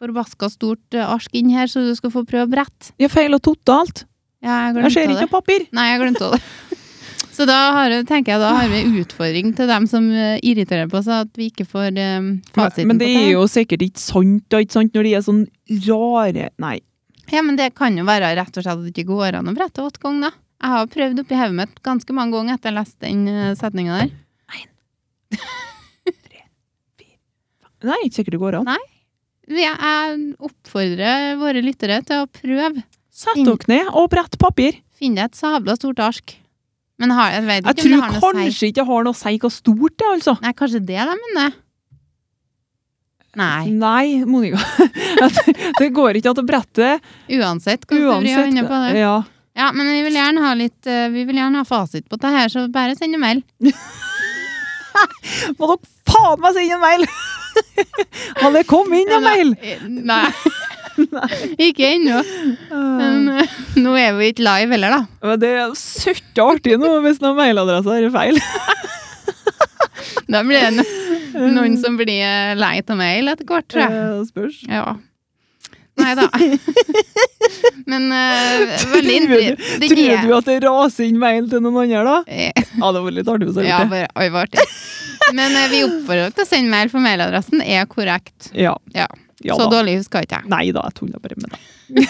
Speaker 1: forbaska stort eh, ark inn her, så du skal få prøve brett.
Speaker 2: jeg feiler totalt.
Speaker 1: Ja, jeg
Speaker 2: Jeg
Speaker 1: glemte
Speaker 2: ser
Speaker 1: det.
Speaker 2: ikke noe papir.
Speaker 1: Nei, jeg glemte det. Så da har, tenker jeg da har vi en utfordring til dem som eh, irriterer på seg at vi ikke får eh,
Speaker 2: Men,
Speaker 1: fasiten
Speaker 2: men det
Speaker 1: på
Speaker 2: er
Speaker 1: det.
Speaker 2: jo sikkert ikke sant, da, ikke sant, når de er sånn rare Nei.
Speaker 1: Ja, men det kan jo være rett og slett at det ikke går an å brette åtte ganger, da. Jeg har prøvd oppi hodet mitt ganske mange ganger etter jeg leste den setninga der.
Speaker 2: Nei, ikke sikkert det går an.
Speaker 1: Nei. Jeg jeg oppfordrer våre lyttere til å prøve.
Speaker 2: Sett dere ned og brett papir.
Speaker 1: Finn deg et sabla stort ark. Men har, jeg vet
Speaker 2: Jeg
Speaker 1: ikke
Speaker 2: tror
Speaker 1: om det har noe å si.
Speaker 2: kanskje ikke det har noe å si hvor stort det er, altså.
Speaker 1: Nei, kanskje det de mener? Nei.
Speaker 2: Nei, Monica. det går ikke an å brette
Speaker 1: Uansett hvordan du vrir
Speaker 2: uansett.
Speaker 1: øynene på det.
Speaker 2: Ja.
Speaker 1: Ja, men vi vil gjerne ha litt eh, Vi vil gjerne ha fasit på det her, så bare send en mail.
Speaker 2: Må dere faen meg sende en mail! Hadde det kommet inn en mail!
Speaker 1: Eh, Nei. ikke ennå. Men
Speaker 2: Eh,
Speaker 1: eh, nå er vi ikke live heller, da.
Speaker 2: men Det er søtt artig nå hvis noen mailadresser er feil.
Speaker 1: Da blir det no noen som blir eh, lei av mail etter hvert, tror jeg.
Speaker 2: Eh, Spørs.
Speaker 1: Ja. Nei da. Men eh, veldig
Speaker 2: Tror
Speaker 1: intriguerende.
Speaker 2: du, tror du at det raser inn mail til noen andre, da?
Speaker 1: at
Speaker 2: Ja, det hadde vært litt artig hvis
Speaker 1: Eh,
Speaker 2: jeg
Speaker 1: Ja,
Speaker 2: hadde gjort det.
Speaker 1: bare, oi, hva artig. Men eh, vi oppfordrer til å sende mail, for mailadressen er korrekt.
Speaker 2: Ja.
Speaker 1: Ja.
Speaker 2: Ja
Speaker 1: så
Speaker 2: da.
Speaker 1: dårlig husker ikke jeg.
Speaker 2: Nei da, jeg tulla bare med det.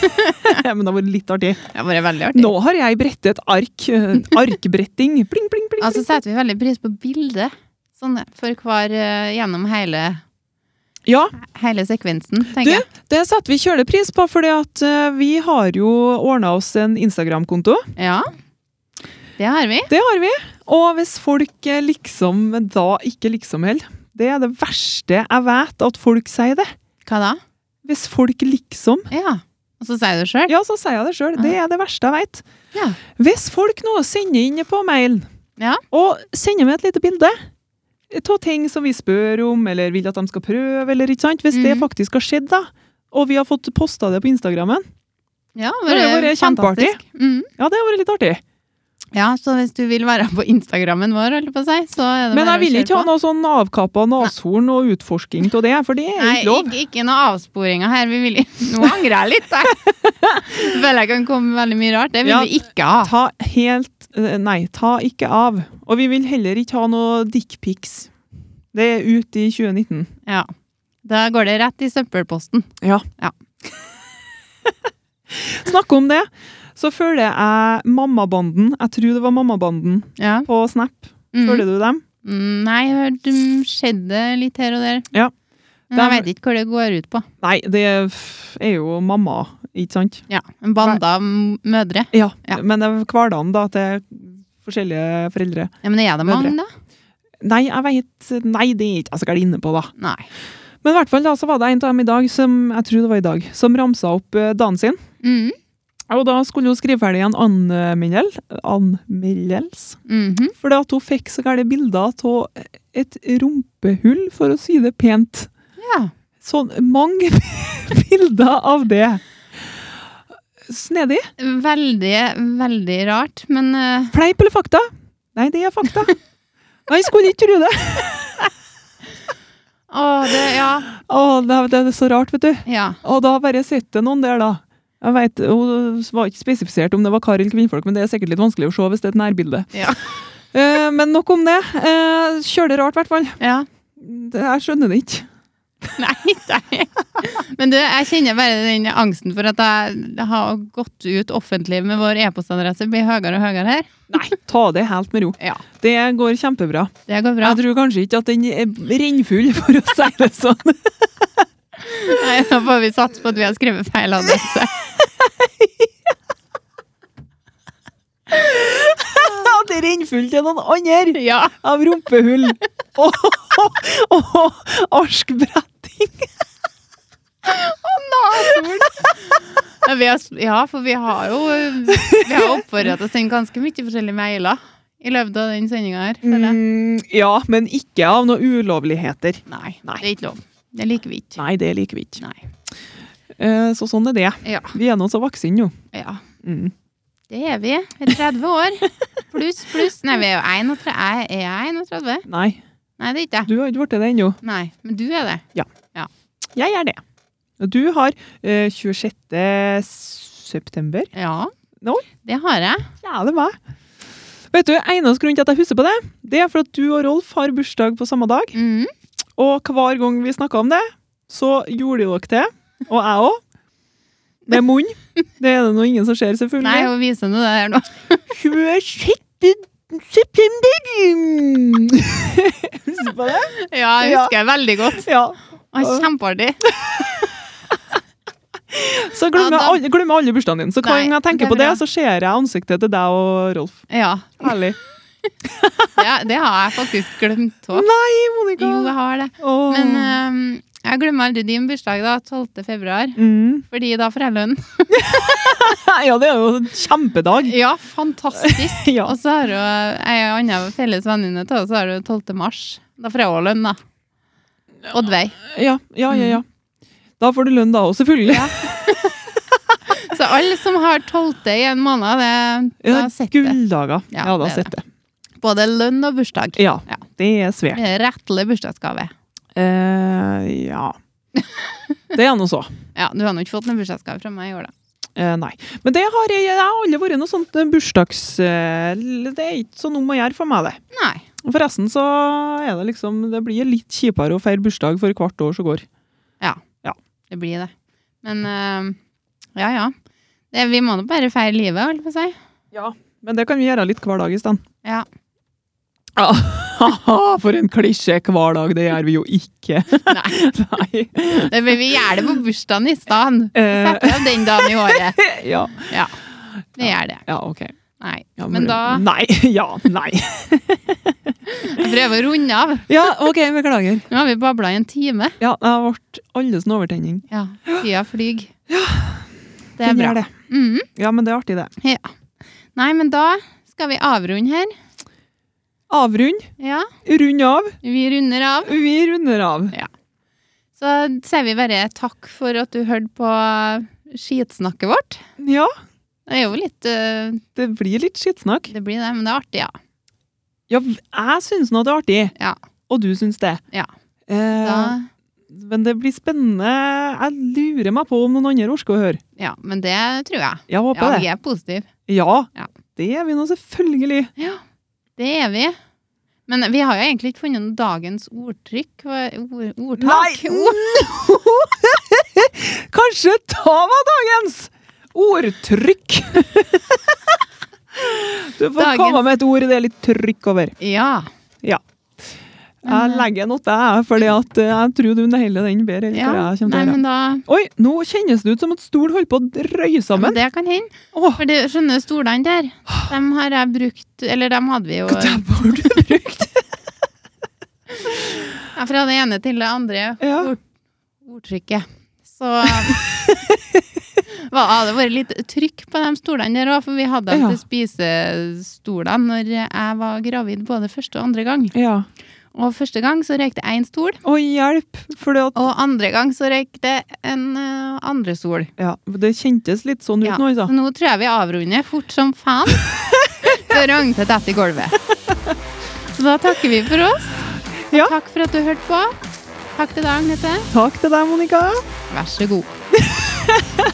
Speaker 2: Men det har vært litt artig.
Speaker 1: Det har vært veldig artig.
Speaker 2: Nå har jeg brettet ark. eh, Arkbretting. Pling, pling, pling.
Speaker 1: Altså setter vi veldig pris på bildet, sånn for hver eh, gjennom hele
Speaker 2: Ja,
Speaker 1: Hele sekvensen,
Speaker 2: Du,
Speaker 1: tenker jeg.
Speaker 2: det setter vi kjølepris på, fordi at eh, vi har jo ordna oss en Instagram-konto.
Speaker 1: Ja. Det har vi.
Speaker 2: Det har vi. Og hvis folk eh, liksom da ikke liksom heller Det er det verste jeg vet at folk sier det.
Speaker 1: Hva da?
Speaker 2: Hvis folk liksom
Speaker 1: Ja. Og så sier du det sjøl?
Speaker 2: Ja, så sier jeg det sjøl. Det er det verste jeg vet.
Speaker 1: Ja.
Speaker 2: Hvis folk nå sender inn på mailen
Speaker 1: Ja.
Speaker 2: og sender meg et lite bilde av ting som vi spør om, eller vil at de skal prøve, eller ikke sant. Hvis det
Speaker 1: Mhm.
Speaker 2: faktisk har skjedd, da, og vi har fått posta det på Instagrammen,
Speaker 1: Ja,
Speaker 2: Det har vært kjempeartig.
Speaker 1: fantastisk. Mm.
Speaker 2: ja, det har vært litt artig.
Speaker 1: Ja, så hvis du vil være på Instagrammen vår, holdt jeg på å si, så er det
Speaker 2: Men
Speaker 1: bare
Speaker 2: jeg vil
Speaker 1: å kjøre
Speaker 2: ikke ha
Speaker 1: på.
Speaker 2: noe sånn avkappa nashorn og utforsking av det, for det er
Speaker 1: Nei,
Speaker 2: ikke lov.
Speaker 1: ikke, ikke noe avsporinger her. Vi vil ikke. Nå angrer jeg litt, jeg. Føler jeg kan komme med veldig mye rart. Det vil
Speaker 2: Ja.
Speaker 1: vi ikke ha.
Speaker 2: Ta helt eh, Nei, ta ikke av. Og vi vil heller ikke ha noe dickpics. Det er ut i 2019.
Speaker 1: Ja. Da går det rett i søppelposten.
Speaker 2: Snakk om det! Så følger jeg Mammabanden. Jeg tror det var Mammabanden
Speaker 1: Ja.
Speaker 2: på Snap.
Speaker 1: Mm.
Speaker 2: Følger du dem?
Speaker 1: Mm, Nei, jeg hørte det skjedde litt her og der.
Speaker 2: Ja.
Speaker 1: Men jeg
Speaker 2: Dem-
Speaker 1: vet ikke hva det går ut på.
Speaker 2: Nei, det er jo mamma, ikke sant?
Speaker 1: Ja, En bande av m- mødre.
Speaker 2: Ja.
Speaker 1: Ja.
Speaker 2: Men det er hverdagen da til forskjellige foreldre.
Speaker 1: Ja, Men er det
Speaker 2: Mødre.
Speaker 1: mange, da?
Speaker 2: Nei, jeg veit Nei, det er ikke jeg så gæren inne på, da.
Speaker 1: Nei.
Speaker 2: Men i hvert fall da, så var det en av dem i dag som jeg tror det var i dag, som ramsa opp eh, dagen sin.
Speaker 1: Mm.
Speaker 2: Og da skulle hun skrive ferdig en anmeldel, anmeldels,
Speaker 1: Mhm.
Speaker 2: fordi at hun fikk så gærne bilder av et rumpehull, for å si det pent.
Speaker 1: Ja.
Speaker 2: Sånn mange bilder av det. Snedig.
Speaker 1: Veldig, veldig rart, men eh,
Speaker 2: Fleip eller fakta? Nei, det er fakta. Nei, skulle ikke tro det.
Speaker 1: Å, det Ja.
Speaker 2: Å, det er- det er så rart, vet du.
Speaker 1: ja.
Speaker 2: Og da bare sitter noen der, da. Jeg vet, Hun var ikke spesifisert om det var kar eller kvinnfolk, men det er sikkert litt vanskelig å se hvis det er et nærbilde.
Speaker 1: Ja.
Speaker 2: Eh, men nok om det. Eh, Kjør det rart, i hvert fall.
Speaker 1: ja.
Speaker 2: Det- Jeg skjønner det ikke.
Speaker 1: Nei, nei. Men du, jeg kjenner bare den angsten for at jeg har gått ut offentlig med vår e-postadresse. Blir høyere og høyere her.
Speaker 2: Nei, ta det helt med ro.
Speaker 1: Ja.
Speaker 2: Det går kjempebra.
Speaker 1: Det går bra.
Speaker 2: Jeg tror kanskje ikke at den er rennfull, for å si det sånn.
Speaker 1: Nei, da får vi satse på at vi har skrevet feil adresse.
Speaker 2: Ja, det er rennfull til noen andre
Speaker 1: Ja.
Speaker 2: av rumpehull og, og arskbretting.
Speaker 1: Nasord. Ja, vi har, ja, for vi har jo eh, Vi har oppfordra til å sende ganske mye forskjellige mailer i løpet av den sendinga her. føler jeg.
Speaker 2: Mm, ja, men ikke av noen ulovligheter.
Speaker 1: Nei,
Speaker 2: Nei.
Speaker 1: det er ikke lov. Det liker vi ikke.
Speaker 2: Nei, det liker vi ikke.
Speaker 1: Nei.
Speaker 2: Eh, Så sånn er det.
Speaker 1: Ja.
Speaker 2: Vi er nå så vaksine, jo.
Speaker 1: ja.
Speaker 2: Mm.
Speaker 1: Det er vi. Vi er 30 år. Pluss, pluss. Nei, vi er jo 31. Jeg Er jeg 31?
Speaker 2: Nei,
Speaker 1: Nei, det er ikke jeg.
Speaker 2: du har ikke blitt det ennå.
Speaker 1: Nei, men du er det.
Speaker 2: Jeg er det. Og Du har eh, 26. september.
Speaker 1: Ja.
Speaker 2: Nå?
Speaker 1: Det har jeg.
Speaker 2: Ja, det var jeg. Vet du, Eneste grunn til at jeg husker på det, det er for at du og Rolf har bursdag på samme dag.
Speaker 1: Mm.
Speaker 2: Og hver gang vi snakka om det, så gjorde dere det. Og jeg òg. Med munn. Det er det nå ingen som ser,
Speaker 1: Nei,
Speaker 2: selvfølgelig.
Speaker 1: hun viser nå det her nå.
Speaker 2: 26. september! Husker du på det?
Speaker 1: Ja, jeg
Speaker 2: Ja.
Speaker 1: husker jeg veldig godt.
Speaker 2: Ja.
Speaker 1: Å, Kjempeartig.
Speaker 2: Så glemmer
Speaker 1: Ja, da-
Speaker 2: jeg alle, glemmer jeg alle bursdagen din. Så hver
Speaker 1: Nei,
Speaker 2: gang jeg tenker
Speaker 1: det er
Speaker 2: på det,
Speaker 1: bra.
Speaker 2: så ser jeg ansiktet til deg og Rolf.
Speaker 1: Ja.
Speaker 2: Herlig.
Speaker 1: ja. Det har jeg faktisk glemt òg.
Speaker 2: Nei,
Speaker 1: Jo,
Speaker 2: Monica!
Speaker 1: jeg har det.
Speaker 2: Åh.
Speaker 1: Men ehm, jeg glemmer aldri din bursdag, da. 12. februar.
Speaker 2: mm.
Speaker 1: Fordi da får jeg lønn.
Speaker 2: Ja, det er jo en kjempedag.
Speaker 1: Ja, fantastisk.
Speaker 2: Ja.
Speaker 1: Og så har jo ei anna felles venninne til oss, så har du 12. mars. Da får jeg òg lønn, da. Oddveig.
Speaker 2: Ja, ja, ja. ja. Da får du lønn da òg, selvfølgelig.
Speaker 1: Ja. Så alle som har 12. i en måned, det, da
Speaker 2: Ja,
Speaker 1: sitter det.
Speaker 2: Gulldager.
Speaker 1: Ja,
Speaker 2: Ja, da
Speaker 1: det er
Speaker 2: sitter det.
Speaker 1: Både lønn og bursdag.
Speaker 2: Ja,
Speaker 1: Ja.
Speaker 2: det er svært.
Speaker 1: Rettelig bursdagsgave.
Speaker 2: Eh, ja. Det er noe så.
Speaker 1: Ja, du har nå ikke fått noen bursdagsgave fra meg i år, da.
Speaker 2: Eh, nei. Men det har jeg, jeg har aldri vært noe sånt eh, bursdags... eh, Det er ikke sånn om å gjøre for meg, det.
Speaker 1: Nei.
Speaker 2: Og Forresten så er det liksom Det blir litt kjipere å feire bursdag for hvert år som går.
Speaker 1: Det blir det. Men eh, ja, ja. Det, vi må nå bare feire livet, holdt jeg på å si.
Speaker 2: Men det kan vi gjøre litt hver dag i stedet.
Speaker 1: Ja.
Speaker 2: Ja. Haha, for en klisjé hver dag! Det gjør vi jo ikke.
Speaker 1: Nei.
Speaker 2: Nei.
Speaker 1: Det vil vi gjør det på bursdagen i stedet.
Speaker 2: Eh.
Speaker 1: Setter av den dagen i året.
Speaker 2: Ja,
Speaker 1: Ja, vi gjør det.
Speaker 2: ja ok.
Speaker 1: Nei.
Speaker 2: Ja,
Speaker 1: Men da
Speaker 2: Nei! Ja, nei.
Speaker 1: jeg prøver å runde av.
Speaker 2: Ja, ok, beklager.
Speaker 1: Nå har vi babla i en time.
Speaker 2: Ja, det har vært alles en overtenning.
Speaker 1: Ja, tida flyr. Det er
Speaker 2: Den
Speaker 1: bra.
Speaker 2: gjør det.
Speaker 1: Mhm.
Speaker 2: Ja, men det er artig, det.
Speaker 1: Nei, men da skal vi avrunde her.
Speaker 2: Avrund.
Speaker 1: Ja,
Speaker 2: Rund av.
Speaker 1: vi runder av.
Speaker 2: Vi runder av.
Speaker 1: Så sier vi bare takk for at du hørte på skitsnakket vårt.
Speaker 2: Ja,
Speaker 1: Det er jo litt øh,
Speaker 2: det blir litt skittsnakk.
Speaker 1: Det blir det, men det er artig, ja.
Speaker 2: Ja, jeg syns nå det er artig.
Speaker 1: Ja.
Speaker 2: Og du syns det.
Speaker 1: Ja.
Speaker 2: Eh,
Speaker 1: Da,
Speaker 2: Men det blir spennende. Jeg lurer meg på om noen andre orker å høre.
Speaker 1: ja. Men det tror jeg.
Speaker 2: Jeg
Speaker 1: Ja,
Speaker 2: håper
Speaker 1: vi
Speaker 2: det.
Speaker 1: er positive.
Speaker 2: Ja,
Speaker 1: Ja.
Speaker 2: det er vi nå selvfølgelig.
Speaker 1: Det er vi. Men vi har jo egentlig ikke funnet noen dagens ordtrykk. hva- Ord, ordtak.
Speaker 2: Nei!
Speaker 1: Ord.
Speaker 2: Kanskje ta meg dagens ordtrykk! du får
Speaker 1: Dagens-
Speaker 2: komme med et ord det er litt trykk over.
Speaker 1: Ja. Mhm.
Speaker 2: Jeg legger noe til, jeg, fordi at eh, jeg tror du nailer den bedre. enn
Speaker 1: ja.
Speaker 2: hva jeg
Speaker 1: Nei,
Speaker 2: kommer til å gjøre.
Speaker 1: men da
Speaker 2: Oi, nå kjennes det ut som at stol holder på å røye
Speaker 1: ja, men
Speaker 2: sammen.
Speaker 1: Det kan hende.
Speaker 2: Åh.
Speaker 1: For du skjønner stolene der, dem har jeg brukt Eller dem hadde vi jo
Speaker 2: Hva dæven har du brukt?
Speaker 1: ja, fra det ene til det andre
Speaker 2: Ja.
Speaker 1: ord, ordtrykket. Så Hva, hadde det vært litt trykk på de stolene der òg, for vi hadde dem
Speaker 2: Ja.
Speaker 1: til spisestolene når jeg var gravid både første og andre gang.
Speaker 2: Ja.
Speaker 1: Og første gang så røykte én stol,
Speaker 2: Å, hjelp! Fordi at
Speaker 1: og andre gang så røykte en eh, andre stol.
Speaker 2: Ja, det kjentes litt sånn ut
Speaker 1: Ja,
Speaker 2: nå, altså.
Speaker 1: Så nå tror jeg vi avrunder fort som faen før Ragnhild detter i gulvet. Så da takker vi for oss. Og
Speaker 2: Ja.
Speaker 1: Takk for at du hørte på. Takk til deg, Agnete.
Speaker 2: Takk til deg, Monica.
Speaker 1: Vær så god.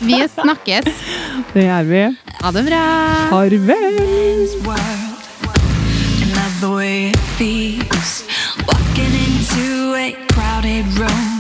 Speaker 1: Vi snakkes.
Speaker 2: Det gjør vi.
Speaker 1: Ha det bra.
Speaker 2: Farvel!
Speaker 3: man's world. And love the way it feels. Walking into a crowded room.